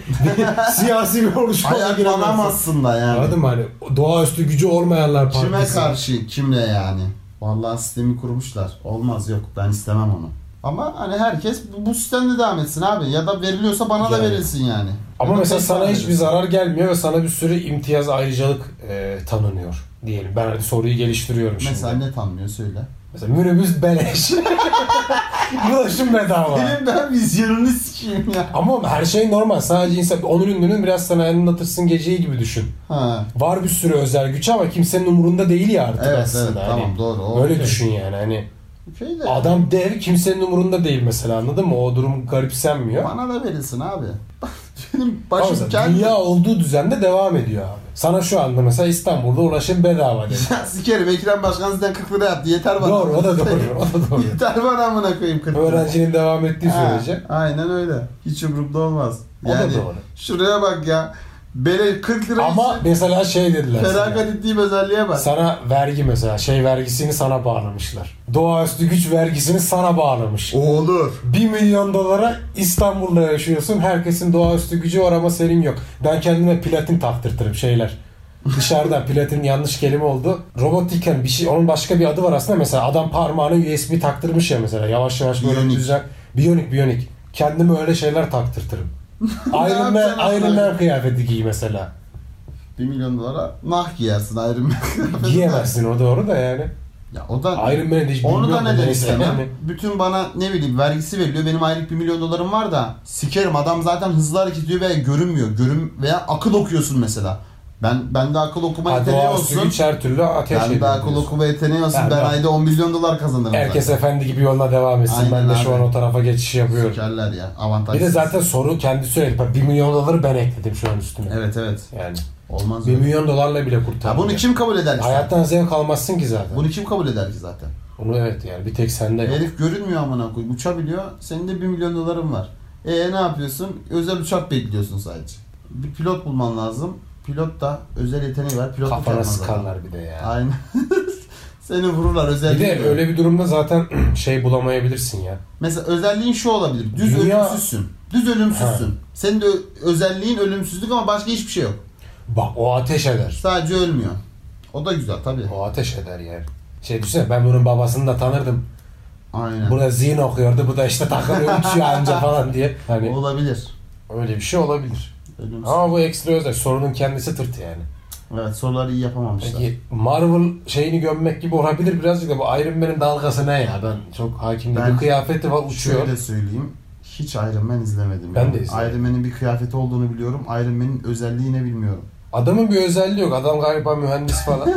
[SPEAKER 2] Siyasi bir oluşma da
[SPEAKER 1] Ayaklanam
[SPEAKER 2] giremezsin.
[SPEAKER 1] aslında yani.
[SPEAKER 2] Anladın mı? Hani doğaüstü gücü olmayanlar partisi.
[SPEAKER 1] Kime karşı kimle yani? Vallahi sistemi kurmuşlar. Olmaz yok ben istemem onu. Ama hani herkes bu, bu sistemde devam etsin abi. Ya da veriliyorsa bana da
[SPEAKER 2] Yani.
[SPEAKER 1] verilsin yani.
[SPEAKER 2] Ama
[SPEAKER 1] Ya da
[SPEAKER 2] mesela
[SPEAKER 1] tekrar
[SPEAKER 2] sana hiçbir
[SPEAKER 1] verilsin.
[SPEAKER 2] zarar gelmiyor ve sana bir sürü imtiyaz ayrıcalık e, tanınıyor diyelim. Ben hani soruyu geliştiriyorum
[SPEAKER 1] Mesela
[SPEAKER 2] şimdi.
[SPEAKER 1] ne tanımıyor söyle.
[SPEAKER 2] Mesela minibüs beleş. Bulaşım bedava.
[SPEAKER 1] Benim ben vizyonunu sikeyim ya.
[SPEAKER 2] Ama her şey normal. Sadece insan onun ünlünün biraz sana anlatırsın geceyi gibi düşün.
[SPEAKER 1] Ha.
[SPEAKER 2] Var bir sürü özel güç ama kimsenin umurunda değil ya artık
[SPEAKER 1] Evet
[SPEAKER 2] aslında.
[SPEAKER 1] evet
[SPEAKER 2] Hani
[SPEAKER 1] tamam doğru. O
[SPEAKER 2] Böyle
[SPEAKER 1] okey.
[SPEAKER 2] düşün yani. Hani
[SPEAKER 1] Okey Şey de
[SPEAKER 2] Adam dev kimsenin umurunda değil mesela anladın mı? O durum garipsenmiyor.
[SPEAKER 1] bana da verilsin abi. Benim
[SPEAKER 2] Ama
[SPEAKER 1] başım
[SPEAKER 2] mesela
[SPEAKER 1] kendi.
[SPEAKER 2] dünya olduğu düzende devam ediyor abi. Sana şu anda mesela İstanbul'da ulaşım bedava dedi.
[SPEAKER 1] Ya sikerim Ekrem Başkan sizden 40 lira yaptı yeter bana.
[SPEAKER 2] doğru o da doğru. O da doğru.
[SPEAKER 1] yeter bana amına koyayım 40 lira.
[SPEAKER 2] Öğrencinin devam ettiği
[SPEAKER 1] Ha,
[SPEAKER 2] sürece.
[SPEAKER 1] Aynen öyle. Hiç umurumda olmaz.
[SPEAKER 2] O da doğru.
[SPEAKER 1] Şuraya bak ya. Bele 40 lira
[SPEAKER 2] Ama
[SPEAKER 1] için
[SPEAKER 2] mesela şey dediler
[SPEAKER 1] feragat
[SPEAKER 2] sana.
[SPEAKER 1] ettiğim özelliğe bak.
[SPEAKER 2] Sana vergi mesela şey vergisini sana bağlamışlar. Doğaüstü güç vergisini sana bağlamış.
[SPEAKER 1] O olur.
[SPEAKER 2] 1 milyon dolara İstanbul'da yaşıyorsun. Herkesin doğaüstü gücü var ama senin yok. Ben kendime platin taktırtırım şeyler. Dışarıdan platin yanlış kelime oldu. Robotiken bir şey onun başka bir adı var aslında. Mesela adam parmağına USB taktırmış ya mesela. Yavaş yavaş böyle
[SPEAKER 1] Biyonik.
[SPEAKER 2] düzen. Biyonik biyonik. Kendime öyle şeyler taktırtırım. Iron
[SPEAKER 1] yapacaksın
[SPEAKER 2] Man, Iron
[SPEAKER 1] aslında?
[SPEAKER 2] Man kıyafeti giy mesela.
[SPEAKER 1] 1 milyon dolara nah giyersin Iron Man kıyafetine.
[SPEAKER 2] Giyemezsin o doğru da yani.
[SPEAKER 1] Ya o da
[SPEAKER 2] Iron Man'i de hiç
[SPEAKER 1] onu da
[SPEAKER 2] bilmiyorum
[SPEAKER 1] neden
[SPEAKER 2] neyse
[SPEAKER 1] istemem.
[SPEAKER 2] yani.
[SPEAKER 1] Bütün bana ne bileyim vergisi veriliyor. Benim aylık 1 milyon dolarım var da sikerim adam zaten hızlı hareket ediyor veya görünmüyor. Görün veya akıl okuyorsun mesela. Ben ben de akıl okuma
[SPEAKER 2] Ha,
[SPEAKER 1] yeteneği
[SPEAKER 2] doğaüstü
[SPEAKER 1] olsun.
[SPEAKER 2] güç her türlü ateş
[SPEAKER 1] Ben de
[SPEAKER 2] ediyor
[SPEAKER 1] akıl
[SPEAKER 2] diyorsun.
[SPEAKER 1] okuma yeteneği olsun.
[SPEAKER 2] Ben
[SPEAKER 1] Ben,
[SPEAKER 2] de-
[SPEAKER 1] ayda 10 milyon dolar kazanırım.
[SPEAKER 2] Herkes
[SPEAKER 1] zaten.
[SPEAKER 2] efendi gibi yoluna devam etsin.
[SPEAKER 1] Aynen
[SPEAKER 2] ben de şu
[SPEAKER 1] abi.
[SPEAKER 2] an o tarafa geçiş yapıyorum.
[SPEAKER 1] Sikerler ya.
[SPEAKER 2] Bir
[SPEAKER 1] Avantajsız.
[SPEAKER 2] de zaten soru kendi söyledi. 1 milyon doları ben ekledim şu an üstüne.
[SPEAKER 1] Evet evet.
[SPEAKER 2] Yani
[SPEAKER 1] Olmaz
[SPEAKER 2] 1
[SPEAKER 1] öyle.
[SPEAKER 2] milyon dolarla bile
[SPEAKER 1] Ya
[SPEAKER 2] kurtar.
[SPEAKER 1] bunu kim kabul eder ki?
[SPEAKER 2] Hayattan zevk almazsın ki zaten.
[SPEAKER 1] Bunu kim kabul eder ki zaten?
[SPEAKER 2] Onu evet yani bir tek sende yok.
[SPEAKER 1] Herif görünmüyor amına koyayım. Uçabiliyor. Senin de 1 milyon doların var. E ne yapıyorsun? Özel uçak bekliyorsun sadece. Bir pilot bulman lazım. Pilot da özel yeteneği var. Pilot
[SPEAKER 2] Kafana sıkarlar bir de ya.
[SPEAKER 1] Aynen. Seni vururlar
[SPEAKER 2] Bir
[SPEAKER 1] özelliği.
[SPEAKER 2] de
[SPEAKER 1] yok.
[SPEAKER 2] öyle bir durumda zaten şey bulamayabilirsin ya.
[SPEAKER 1] Mesela özelliğin şu olabilir. Düz
[SPEAKER 2] Dünya-
[SPEAKER 1] ölümsüzsün. Düz ölümsüzsün. Senin de ö- özelliğin ölümsüzlük ama başka hiçbir şey yok.
[SPEAKER 2] Bak o ateş eder.
[SPEAKER 1] Sadece ölmüyor. O da güzel tabii.
[SPEAKER 2] O ateş eder yani. Şey düşünsene ben bunun babasını da tanırdım.
[SPEAKER 1] Aynen.
[SPEAKER 2] Burada zihin okuyordu. Bu da işte takılıyor uçuyor anca falan diye. Hani
[SPEAKER 1] Olabilir.
[SPEAKER 2] öyle bir şey olabilir.
[SPEAKER 1] Ölümsüz.
[SPEAKER 2] Ama bu ekstra özel. Sorunun kendisi tırt yani.
[SPEAKER 1] Evet soruları iyi yapamamışlar.
[SPEAKER 2] Peki Marvel şeyini gömmmek gibi olabilir birazcık da bu Iron Man'in dalgası ne ya? Ben çok hakim değilim.
[SPEAKER 1] Ben-
[SPEAKER 2] Kıyafeti var uçuyor.
[SPEAKER 1] Şöyle söyleyeyim. Hiç Iron Man izlemedim.
[SPEAKER 2] Ben
[SPEAKER 1] ya.
[SPEAKER 2] de izlemedim.
[SPEAKER 1] Iron Man'in bir kıyafeti olduğunu biliyorum. Iron Man'in özelliği ne bilmiyorum.
[SPEAKER 2] Adamın bir özelliği yok. Adam galiba mühendis falan.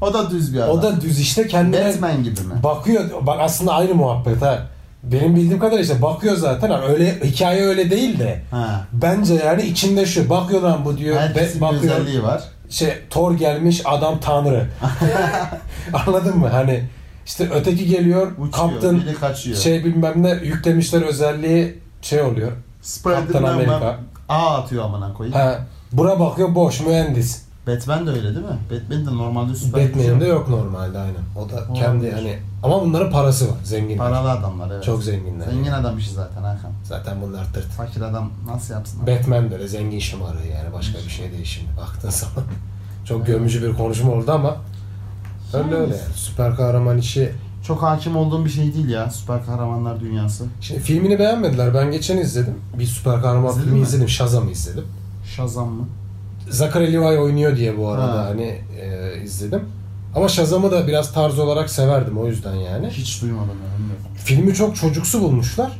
[SPEAKER 1] O da düz bir adam.
[SPEAKER 2] o da düz işte kendine
[SPEAKER 1] Batman gibi mi?
[SPEAKER 2] bakıyor. Bak aslında aynı muhabbet ha. Benim bildiğim kadarıyla işte bakıyor zaten. Hani öyle hikaye öyle değil de.
[SPEAKER 1] Ha.
[SPEAKER 2] Bence yani içinde şu bakıyor lan bu diyor.
[SPEAKER 1] Herkesin
[SPEAKER 2] Be-
[SPEAKER 1] bir
[SPEAKER 2] bakıyor.
[SPEAKER 1] özelliği var.
[SPEAKER 2] Şey Thor gelmiş adam tanrı. Anladın mı? Hani işte öteki geliyor.
[SPEAKER 1] Uçuyor,
[SPEAKER 2] Kaptan
[SPEAKER 1] biri kaçıyor.
[SPEAKER 2] şey bilmem ne yüklemişler özelliği şey oluyor. Kaptan
[SPEAKER 1] Spider-Man
[SPEAKER 2] Amerika.
[SPEAKER 1] ben- ağ atıyor amına koyayım.
[SPEAKER 2] Ha, bura bakıyor boş mühendis.
[SPEAKER 1] Batman de öyle değil mi? Batman de normalde süper gücü
[SPEAKER 2] Batman'in de yok normalde aynen. O da
[SPEAKER 1] Olabilir.
[SPEAKER 2] kendi hani ama bunların parası var zengin.
[SPEAKER 1] Paralı adamlar evet.
[SPEAKER 2] Çok zenginler.
[SPEAKER 1] Zengin adam işi zaten Hakan.
[SPEAKER 2] Zaten bunlar tırt.
[SPEAKER 1] Fakir adam nasıl yapsın? abi?
[SPEAKER 2] Batman böyle zengin şımarı yani başka bir şey değil şimdi baktığın zaman. Çok gömücü bir konuşma oldu ama öyle öyle yani. Süper kahraman işi.
[SPEAKER 1] Çok hakim olduğum bir şey değil ya süper kahramanlar dünyası.
[SPEAKER 2] Şimdi filmini beğenmediler. Ben geçen izledim. Bir süper kahraman
[SPEAKER 1] İzledin
[SPEAKER 2] filmi
[SPEAKER 1] mi?
[SPEAKER 2] izledim. Shazam'ı izledim.
[SPEAKER 1] Shazam mı?
[SPEAKER 2] Zachary Levi oynuyor diye bu arada
[SPEAKER 1] Ha.
[SPEAKER 2] hani e, izledim. Ama Shazam'ı da biraz tarz olarak severdim o yüzden yani.
[SPEAKER 1] Hiç duymadım ya bilmiyorum.
[SPEAKER 2] Filmi çok çocuksu bulmuşlar.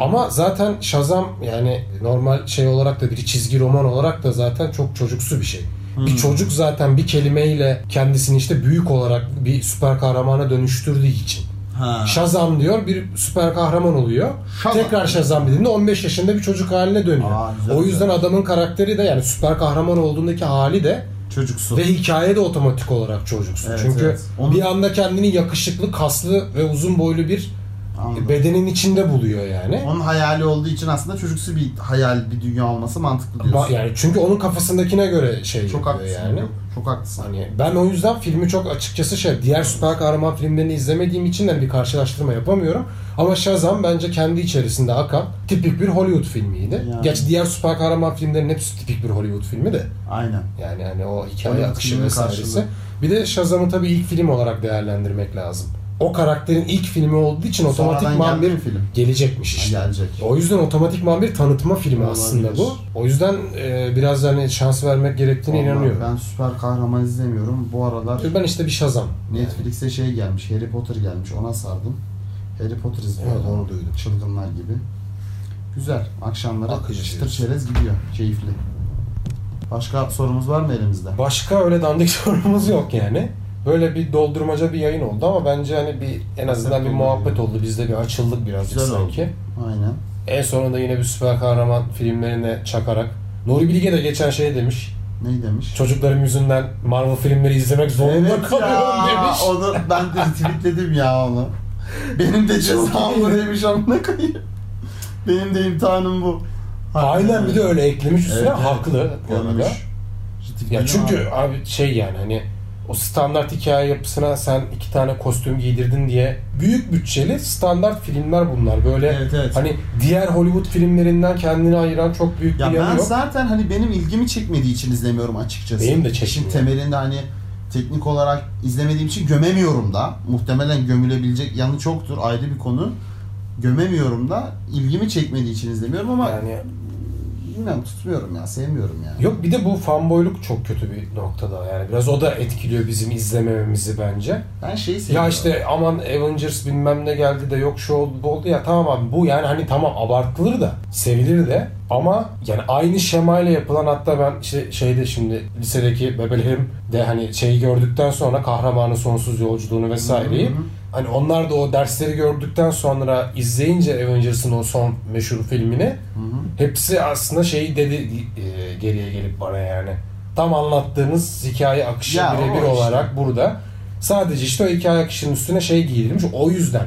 [SPEAKER 2] Ama zaten Shazam yani normal şey olarak da bir çizgi roman olarak da zaten çok çocuksu bir şey. Bir çocuk zaten bir kelimeyle kendisini işte büyük olarak bir süper kahramana dönüştürdüğü için.
[SPEAKER 1] Ha.
[SPEAKER 2] Shazam diyor bir süper kahraman oluyor.
[SPEAKER 1] Shazam.
[SPEAKER 2] Tekrar Shazam dediğinde 15 yaşında bir çocuk haline dönüyor.
[SPEAKER 1] Aa, güzel,
[SPEAKER 2] o yüzden
[SPEAKER 1] güzel.
[SPEAKER 2] adamın karakteri de yani süper kahraman olduğundaki hali de
[SPEAKER 1] Çocuksu.
[SPEAKER 2] ve hikaye de otomatik olarak çocuksu.
[SPEAKER 1] Evet,
[SPEAKER 2] Çünkü
[SPEAKER 1] evet. Onu-
[SPEAKER 2] bir anda kendini yakışıklı, kaslı ve uzun boylu bir
[SPEAKER 1] Anladım.
[SPEAKER 2] bedenin içinde buluyor yani.
[SPEAKER 1] Onun hayali olduğu için aslında çocuksu bir hayal bir dünya olması mantıklı
[SPEAKER 2] Ba-
[SPEAKER 1] diyorsun.
[SPEAKER 2] Yani çünkü onun kafasındakine göre şey
[SPEAKER 1] çok
[SPEAKER 2] yapıyor
[SPEAKER 1] haklısın.
[SPEAKER 2] yani.
[SPEAKER 1] Çok, çok haklısın.
[SPEAKER 2] Hani ben o yüzden filmi çok açıkçası şey diğer süper kahraman filmlerini izlemediğim için de hani bir karşılaştırma yapamıyorum. Ama Shazam bence kendi içerisinde akan tipik bir Hollywood filmiydi.
[SPEAKER 1] Yani.
[SPEAKER 2] Gerçi diğer süper kahraman filmlerin hepsi tipik bir Hollywood filmi de.
[SPEAKER 1] Aynen.
[SPEAKER 2] Yani hani o hikaye
[SPEAKER 1] Hollywood
[SPEAKER 2] akışı
[SPEAKER 1] filminin
[SPEAKER 2] vesairesi.
[SPEAKER 1] karşılığı.
[SPEAKER 2] Bir de Shazam'ı tabii ilk film olarak değerlendirmek lazım. O karakterin ilk filmi olduğu için otomatikman
[SPEAKER 1] Sonradan
[SPEAKER 2] bir
[SPEAKER 1] geldi mi film?
[SPEAKER 2] gelecekmiş işte.
[SPEAKER 1] Gelecek.
[SPEAKER 2] O yüzden otomatikman bir tanıtma filmi
[SPEAKER 1] Olabilir.
[SPEAKER 2] aslında bu. O yüzden e, biraz hani şans vermek gerektiğine
[SPEAKER 1] Vallahi
[SPEAKER 2] inanıyorum.
[SPEAKER 1] Ben süper kahraman izlemiyorum. Bu aralar
[SPEAKER 2] Ben işte bir Shazam.
[SPEAKER 1] Netflix'e şey gelmiş, Harry Potter gelmiş. Ona sardım. Harry Potter izliyorum.
[SPEAKER 2] Evet, onu duydum.
[SPEAKER 1] Çılgınlar gibi. Güzel. Akşamları
[SPEAKER 2] Akıcı
[SPEAKER 1] çıtır
[SPEAKER 2] diyorsun.
[SPEAKER 1] çerez gidiyor. Keyifli. Başka sorumuz var mı elimizde?
[SPEAKER 2] Başka öyle dandik sorumuz yok yani. Böyle bir doldurmaca bir yayın oldu ama bence hani bir en azından bir
[SPEAKER 1] oldu
[SPEAKER 2] muhabbet oldu. Biz de bir açıldık birazcık
[SPEAKER 1] Güzel oldu.
[SPEAKER 2] sanki.
[SPEAKER 1] Aynen.
[SPEAKER 2] En sonunda yine bir süper kahraman filmlerine çakarak. Nuri Bilge de geçen şey demiş.
[SPEAKER 1] Ne demiş?
[SPEAKER 2] Çocuklarım yüzünden Marvel filmleri izlemek zorunda kalıyorum demiş.
[SPEAKER 1] Onu ben de tweetledim ya onu. Benim de cezam bu demiş amına koyayım. Benim de imtihanım bu.
[SPEAKER 2] Aynen bir de öyle eklemiş üstüne
[SPEAKER 1] Evet, evet.
[SPEAKER 2] haklı bu arada.
[SPEAKER 1] Koymuş.
[SPEAKER 2] Ya çünkü abi şey yani hani o standart hikaye yapısına sen iki tane kostüm giydirdin diye büyük bütçeli standart filmler bunlar. Böyle
[SPEAKER 1] Evet, evet.
[SPEAKER 2] hani diğer Hollywood filmlerinden kendini ayıran çok büyük bir
[SPEAKER 1] Ya
[SPEAKER 2] yanı
[SPEAKER 1] ben
[SPEAKER 2] yok.
[SPEAKER 1] zaten hani benim ilgimi çekmediği için izlemiyorum açıkçası.
[SPEAKER 2] Benim de çekmiyor.
[SPEAKER 1] İşin temelinde hani teknik olarak izlemediğim için gömemiyorum da. Muhtemelen gömülebilecek yanı çoktur ayrı bir konu. Gömemiyorum da ilgimi çekmediği için izlemiyorum ama
[SPEAKER 2] Yani
[SPEAKER 1] bilmem tutmuyorum ya sevmiyorum yani.
[SPEAKER 2] yok bir de bu fanboyluk çok kötü bir noktada yani biraz o da etkiliyor bizim izlemememizi bence.
[SPEAKER 1] Ben şeyi
[SPEAKER 2] Ya
[SPEAKER 1] seviyorum.
[SPEAKER 2] işte aman Avengers bilmem ne geldi de yok şu oldu bu oldu ya tamam abi bu yani hani tamam abartılır da sevilir de Ama yani aynı şemayla yapılan hatta ben işte şeyde şimdi lisedeki bebelerim de hani şeyi gördükten sonra kahramanın sonsuz yolculuğunu vesaireyi
[SPEAKER 1] Hı hı.
[SPEAKER 2] hani onlar da o dersleri gördükten sonra izleyince Avengers'ın o son meşhur filmini hepsi aslında şeyi dedi e, geriye gelip bana yani. Tam anlattığınız hikaye akışı
[SPEAKER 1] Ya, o
[SPEAKER 2] birebir
[SPEAKER 1] işte.
[SPEAKER 2] olarak burada. Sadece işte o hikaye akışının üstüne şey giydirilmiş. O yüzden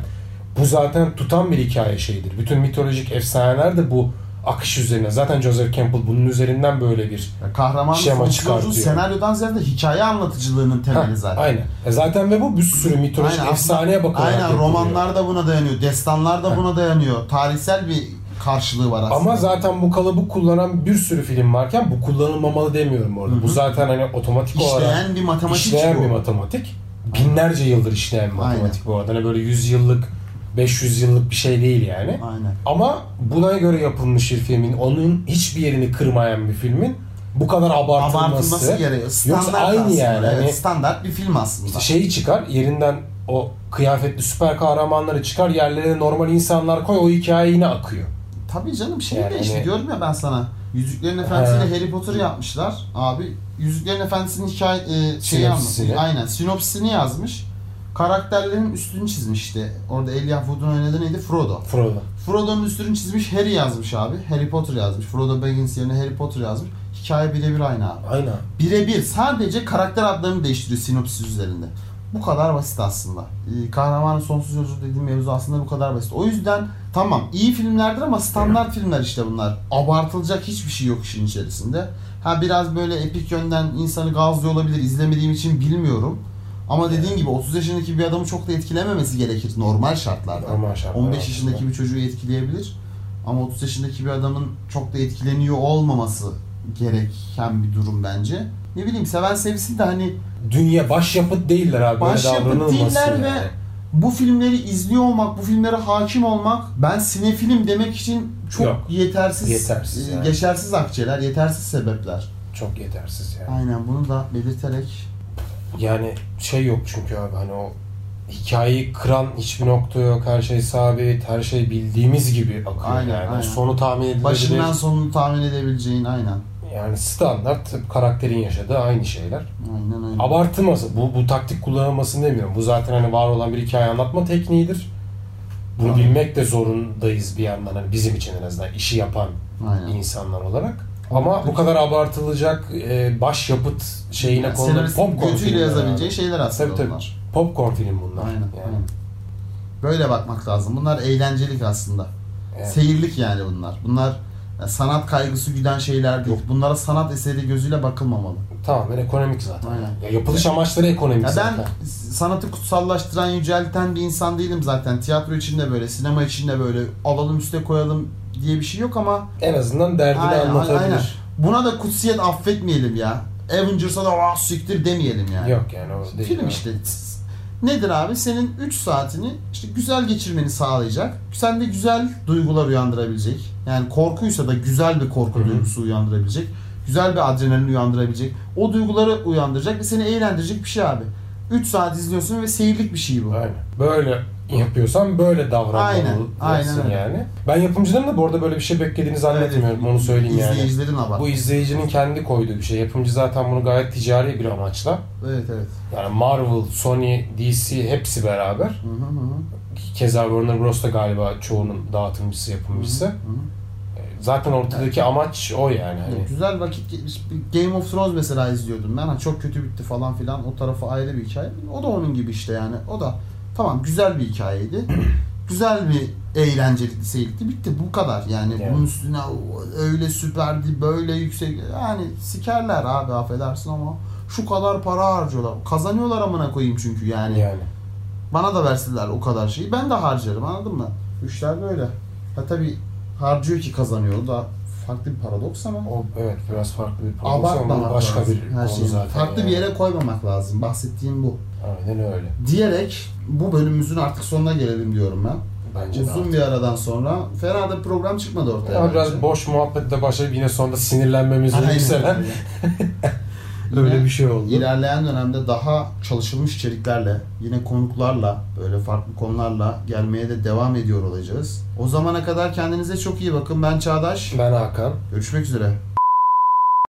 [SPEAKER 2] bu zaten tutan bir hikaye şeyidir. Bütün mitolojik efsaneler de bu akış üzerine. Zaten Joseph Campbell bunun üzerinden böyle bir
[SPEAKER 1] Ya kahramanın
[SPEAKER 2] Şema
[SPEAKER 1] fonksiyonu
[SPEAKER 2] çıkartıyor.
[SPEAKER 1] senaryodan ziyade hikaye anlatıcılığının temeli
[SPEAKER 2] Ha,
[SPEAKER 1] zaten.
[SPEAKER 2] Aynen. E zaten ve bu bir sürü mitolojik
[SPEAKER 1] Aynen,
[SPEAKER 2] efsaneye bakıyor.
[SPEAKER 1] Aynen romanlar da buna dayanıyor. Destanlar da buna dayanıyor. Tarihsel bir karşılığı var aslında.
[SPEAKER 2] Ama zaten bu kalıbı kullanan bir sürü film varken bu kullanılmamalı demiyorum orada.
[SPEAKER 1] Hı hı.
[SPEAKER 2] Bu zaten hani otomatik olarak
[SPEAKER 1] işleyen bir matematik
[SPEAKER 2] işleyen
[SPEAKER 1] bu.
[SPEAKER 2] bir matematik. Binlerce yıldır işleyen bir matematik
[SPEAKER 1] Aynen.
[SPEAKER 2] bu arada. Hani böyle 100 yıllık, 500 yıllık bir şey değil yani.
[SPEAKER 1] Aynen.
[SPEAKER 2] Ama buna göre yapılmış bir filmin, onun hiçbir yerini kırmayan bir filmin bu kadar abartılması,
[SPEAKER 1] Abartılması gerekiyor. Standart
[SPEAKER 2] Yoksa aynı
[SPEAKER 1] aslında.
[SPEAKER 2] yani. Hani-
[SPEAKER 1] Evet, standart bir film aslında.
[SPEAKER 2] işte şeyi şey çıkar, yerinden o kıyafetli süper kahramanları çıkar, yerlerine normal insanlar koy, o hikaye yine akıyor.
[SPEAKER 1] Tabii canım şey
[SPEAKER 2] Yani
[SPEAKER 1] de işte
[SPEAKER 2] hani-
[SPEAKER 1] diyorum ya ben sana. Yüzüklerin Efendisi'yle Harry Potter yapmışlar. Abi Yüzüklerin Efendisi'nin hikaye e, şeyi
[SPEAKER 2] Sinopsisini.
[SPEAKER 1] anlatıyor. Aynen. Sinopsisini yazmış. Karakterlerin üstünü çizmiş işte. Orada Elijah Wood'un oynadığı neydi? Frodo.
[SPEAKER 2] Frodo.
[SPEAKER 1] Frodo'nun üstünü çizmiş Harry yazmış abi. Harry Potter yazmış. Frodo Baggins yerine Harry Potter yazmış. Hikaye birebir aynı abi.
[SPEAKER 2] Aynen.
[SPEAKER 1] Birebir sadece karakter adlarını değiştiriyor sinopsis üzerinde. Bu kadar basit aslında. Ee, Kahramanın sonsuz yolculuğu dediğim mevzu aslında bu kadar basit. O yüzden tamam iyi filmlerdir ama standart filmler işte bunlar. Abartılacak hiçbir şey yok işin içerisinde. Ha biraz böyle epik yönden insanı gazlıyor olabilir. İzlemediğim için bilmiyorum. Ama dediğin gibi 30 yaşındaki bir adamı çok da etkilememesi gerekir normal şartlarda.
[SPEAKER 2] Normal şartlar
[SPEAKER 1] 15
[SPEAKER 2] altında.
[SPEAKER 1] yaşındaki bir çocuğu etkileyebilir. Ama 30 yaşındaki bir adamın çok da etkileniyor olmaması gereken bir durum bence. Ne bileyim seven sevsin de hani
[SPEAKER 2] Dünya başyapıt değiller abi. böyle
[SPEAKER 1] Başyapıt
[SPEAKER 2] davranılmasın
[SPEAKER 1] değiller ve-
[SPEAKER 2] yani.
[SPEAKER 1] bu filmleri izliyor olmak, bu filmlere hakim olmak ben sinefilim demek için çok
[SPEAKER 2] Yok.
[SPEAKER 1] yetersiz,
[SPEAKER 2] Yetersiz
[SPEAKER 1] e,
[SPEAKER 2] yani.
[SPEAKER 1] geçersiz akçeler, yetersiz sebepler.
[SPEAKER 2] Çok yetersiz yani.
[SPEAKER 1] Aynen bunu da belirterek
[SPEAKER 2] Yani şey yok çünkü abi hani o hikayeyi kıran hiçbir nokta yok. Her şey sabit, her şey bildiğimiz gibi akıyor
[SPEAKER 1] Aynen,
[SPEAKER 2] yani.
[SPEAKER 1] aynen.
[SPEAKER 2] Sonu tahmin edilebilir.
[SPEAKER 1] başından sonunu tahmin edebileceğin aynen.
[SPEAKER 2] Yani standart hep karakterin yaşadığı aynı şeyler.
[SPEAKER 1] Aynen öyle.
[SPEAKER 2] Abartılması. Bu, bu taktik kullanılmasını demiyorum. Bu zaten hani var olan bir hikaye anlatma tekniğidir. Bunu
[SPEAKER 1] Tamam.
[SPEAKER 2] bilmek de zorundayız bir yandan. Hani bizim için en azından işi yapan
[SPEAKER 1] aynen.
[SPEAKER 2] insanlar olarak. Ama bu kadar abartılacak e, başyapıt şeyine
[SPEAKER 1] Yani
[SPEAKER 2] konulan
[SPEAKER 1] senaristin
[SPEAKER 2] popcorn
[SPEAKER 1] götüyle
[SPEAKER 2] filmler abi.
[SPEAKER 1] yazabileceği şeyler aslında
[SPEAKER 2] Tabii, tabii.
[SPEAKER 1] onlar.
[SPEAKER 2] Popcorn film bunlar.
[SPEAKER 1] Aynen,
[SPEAKER 2] yani.
[SPEAKER 1] aynen. Böyle bakmak lazım. Bunlar eğlencelik aslında.
[SPEAKER 2] Evet.
[SPEAKER 1] Seyirlik yani bunlar. Bunlar e, sanat kaygısı güden şeyler değil. Bunlara sanat eseri gözüyle bakılmamalı.
[SPEAKER 2] Tamamen ekonomik zaten.
[SPEAKER 1] Aynen.
[SPEAKER 2] Ya yapılış amaçları ekonomik
[SPEAKER 1] Ya
[SPEAKER 2] zaten.
[SPEAKER 1] ben sanatı kutsallaştıran, yücelten bir insan değilim zaten. Tiyatro için de böyle, sinema için de böyle alalım üste koyalım diye bir şey yok ama
[SPEAKER 2] En azından derdini
[SPEAKER 1] Aynen,
[SPEAKER 2] anlatabilir.
[SPEAKER 1] aynen. buna da kutsiyet affetmeyelim ya. Avengers'a da ah siktir demeyelim yani.
[SPEAKER 2] Yok yani o değil.
[SPEAKER 1] Film
[SPEAKER 2] abi.
[SPEAKER 1] işte. Nedir abi? Senin 3 saatini işte güzel geçirmeni sağlayacak. Sende güzel duygular uyandırabilecek. Yani korkuysa da güzel bir korku
[SPEAKER 2] Hı hı.
[SPEAKER 1] duygusu uyandırabilecek. Güzel bir adrenalin uyandırabilecek. O duyguları uyandıracak ve seni eğlendirecek bir şey abi. 3 saat izliyorsun ve seyirlik bir şey bu.
[SPEAKER 2] Aynen. Böyle yapıyorsan böyle
[SPEAKER 1] Aynen,
[SPEAKER 2] davranmalısın
[SPEAKER 1] aynen öyle.
[SPEAKER 2] yani. Ben yapımcıların da bu arada böyle bir şey beklediğini zannetmiyorum. Onu söyleyeyim yani.
[SPEAKER 1] İzleyicilerin abart.
[SPEAKER 2] Bu izleyicinin kendi koyduğu bir şey. Yapımcı zaten bunu gayet ticari bir amaçla.
[SPEAKER 1] Evet evet.
[SPEAKER 2] Yani Marvel, Sony, DC hepsi beraber.
[SPEAKER 1] Hı hı hı.
[SPEAKER 2] Keza Warner Bros da galiba çoğunun dağıtımcısı, yapımcısı.
[SPEAKER 1] Hı hı.
[SPEAKER 2] Zaten ortadaki amaç o yani. Hani
[SPEAKER 1] Evet, Güzel vakit geçmiş. Bir Game of Thrones mesela izliyordum ben. Ha, çok kötü bitti falan filan. O tarafı ayrı bir hikaye. O da onun gibi işte yani. O da tamam güzel bir hikayeydi. güzel bir eğlenceli seyirlikti. Bitti bu kadar. Yani
[SPEAKER 2] Evet.
[SPEAKER 1] bunun üstüne o- öyle süperdi, böyle yüksek. Yani sikerler abi affedersin ama şu kadar para harcıyorlar. Kazanıyorlar amına koyayım çünkü yani.
[SPEAKER 2] yani.
[SPEAKER 1] Bana da verseler o kadar şeyi ben de harcarım anladın mı? Üçler böyle. Ha tabii harcıyor ki kazanıyor. O da farklı bir paradoks ama.
[SPEAKER 2] O evet biraz farklı bir prodüksiyon.
[SPEAKER 1] Abartmamak
[SPEAKER 2] Bu başka
[SPEAKER 1] lazım.
[SPEAKER 2] bir
[SPEAKER 1] Her
[SPEAKER 2] konu
[SPEAKER 1] şeyi.
[SPEAKER 2] zaten.
[SPEAKER 1] Farklı
[SPEAKER 2] yani.
[SPEAKER 1] bir yere koymamak lazım. Bahsettiğim bu.
[SPEAKER 2] Aynen öyle.
[SPEAKER 1] Diyerek bu bölümümüzün artık sonuna gelelim diyorum ben.
[SPEAKER 2] Bence de.
[SPEAKER 1] Uzun bir aradan sonra fena da program çıkmadı ortaya.
[SPEAKER 2] Ya
[SPEAKER 1] bence.
[SPEAKER 2] biraz boş muhabbetle başlayıp yine sonunda sinirlenmemiz
[SPEAKER 1] Aynen.
[SPEAKER 2] yükselen Öyle bir şey oldu.
[SPEAKER 1] İlerleyen dönemde daha çalışılmış içeriklerle, yine konuklarla, böyle farklı konularla gelmeye de devam ediyor olacağız. O zamana kadar kendinize çok iyi bakın. Ben Çağdaş.
[SPEAKER 2] Ben Hakan.
[SPEAKER 1] Görüşmek üzere.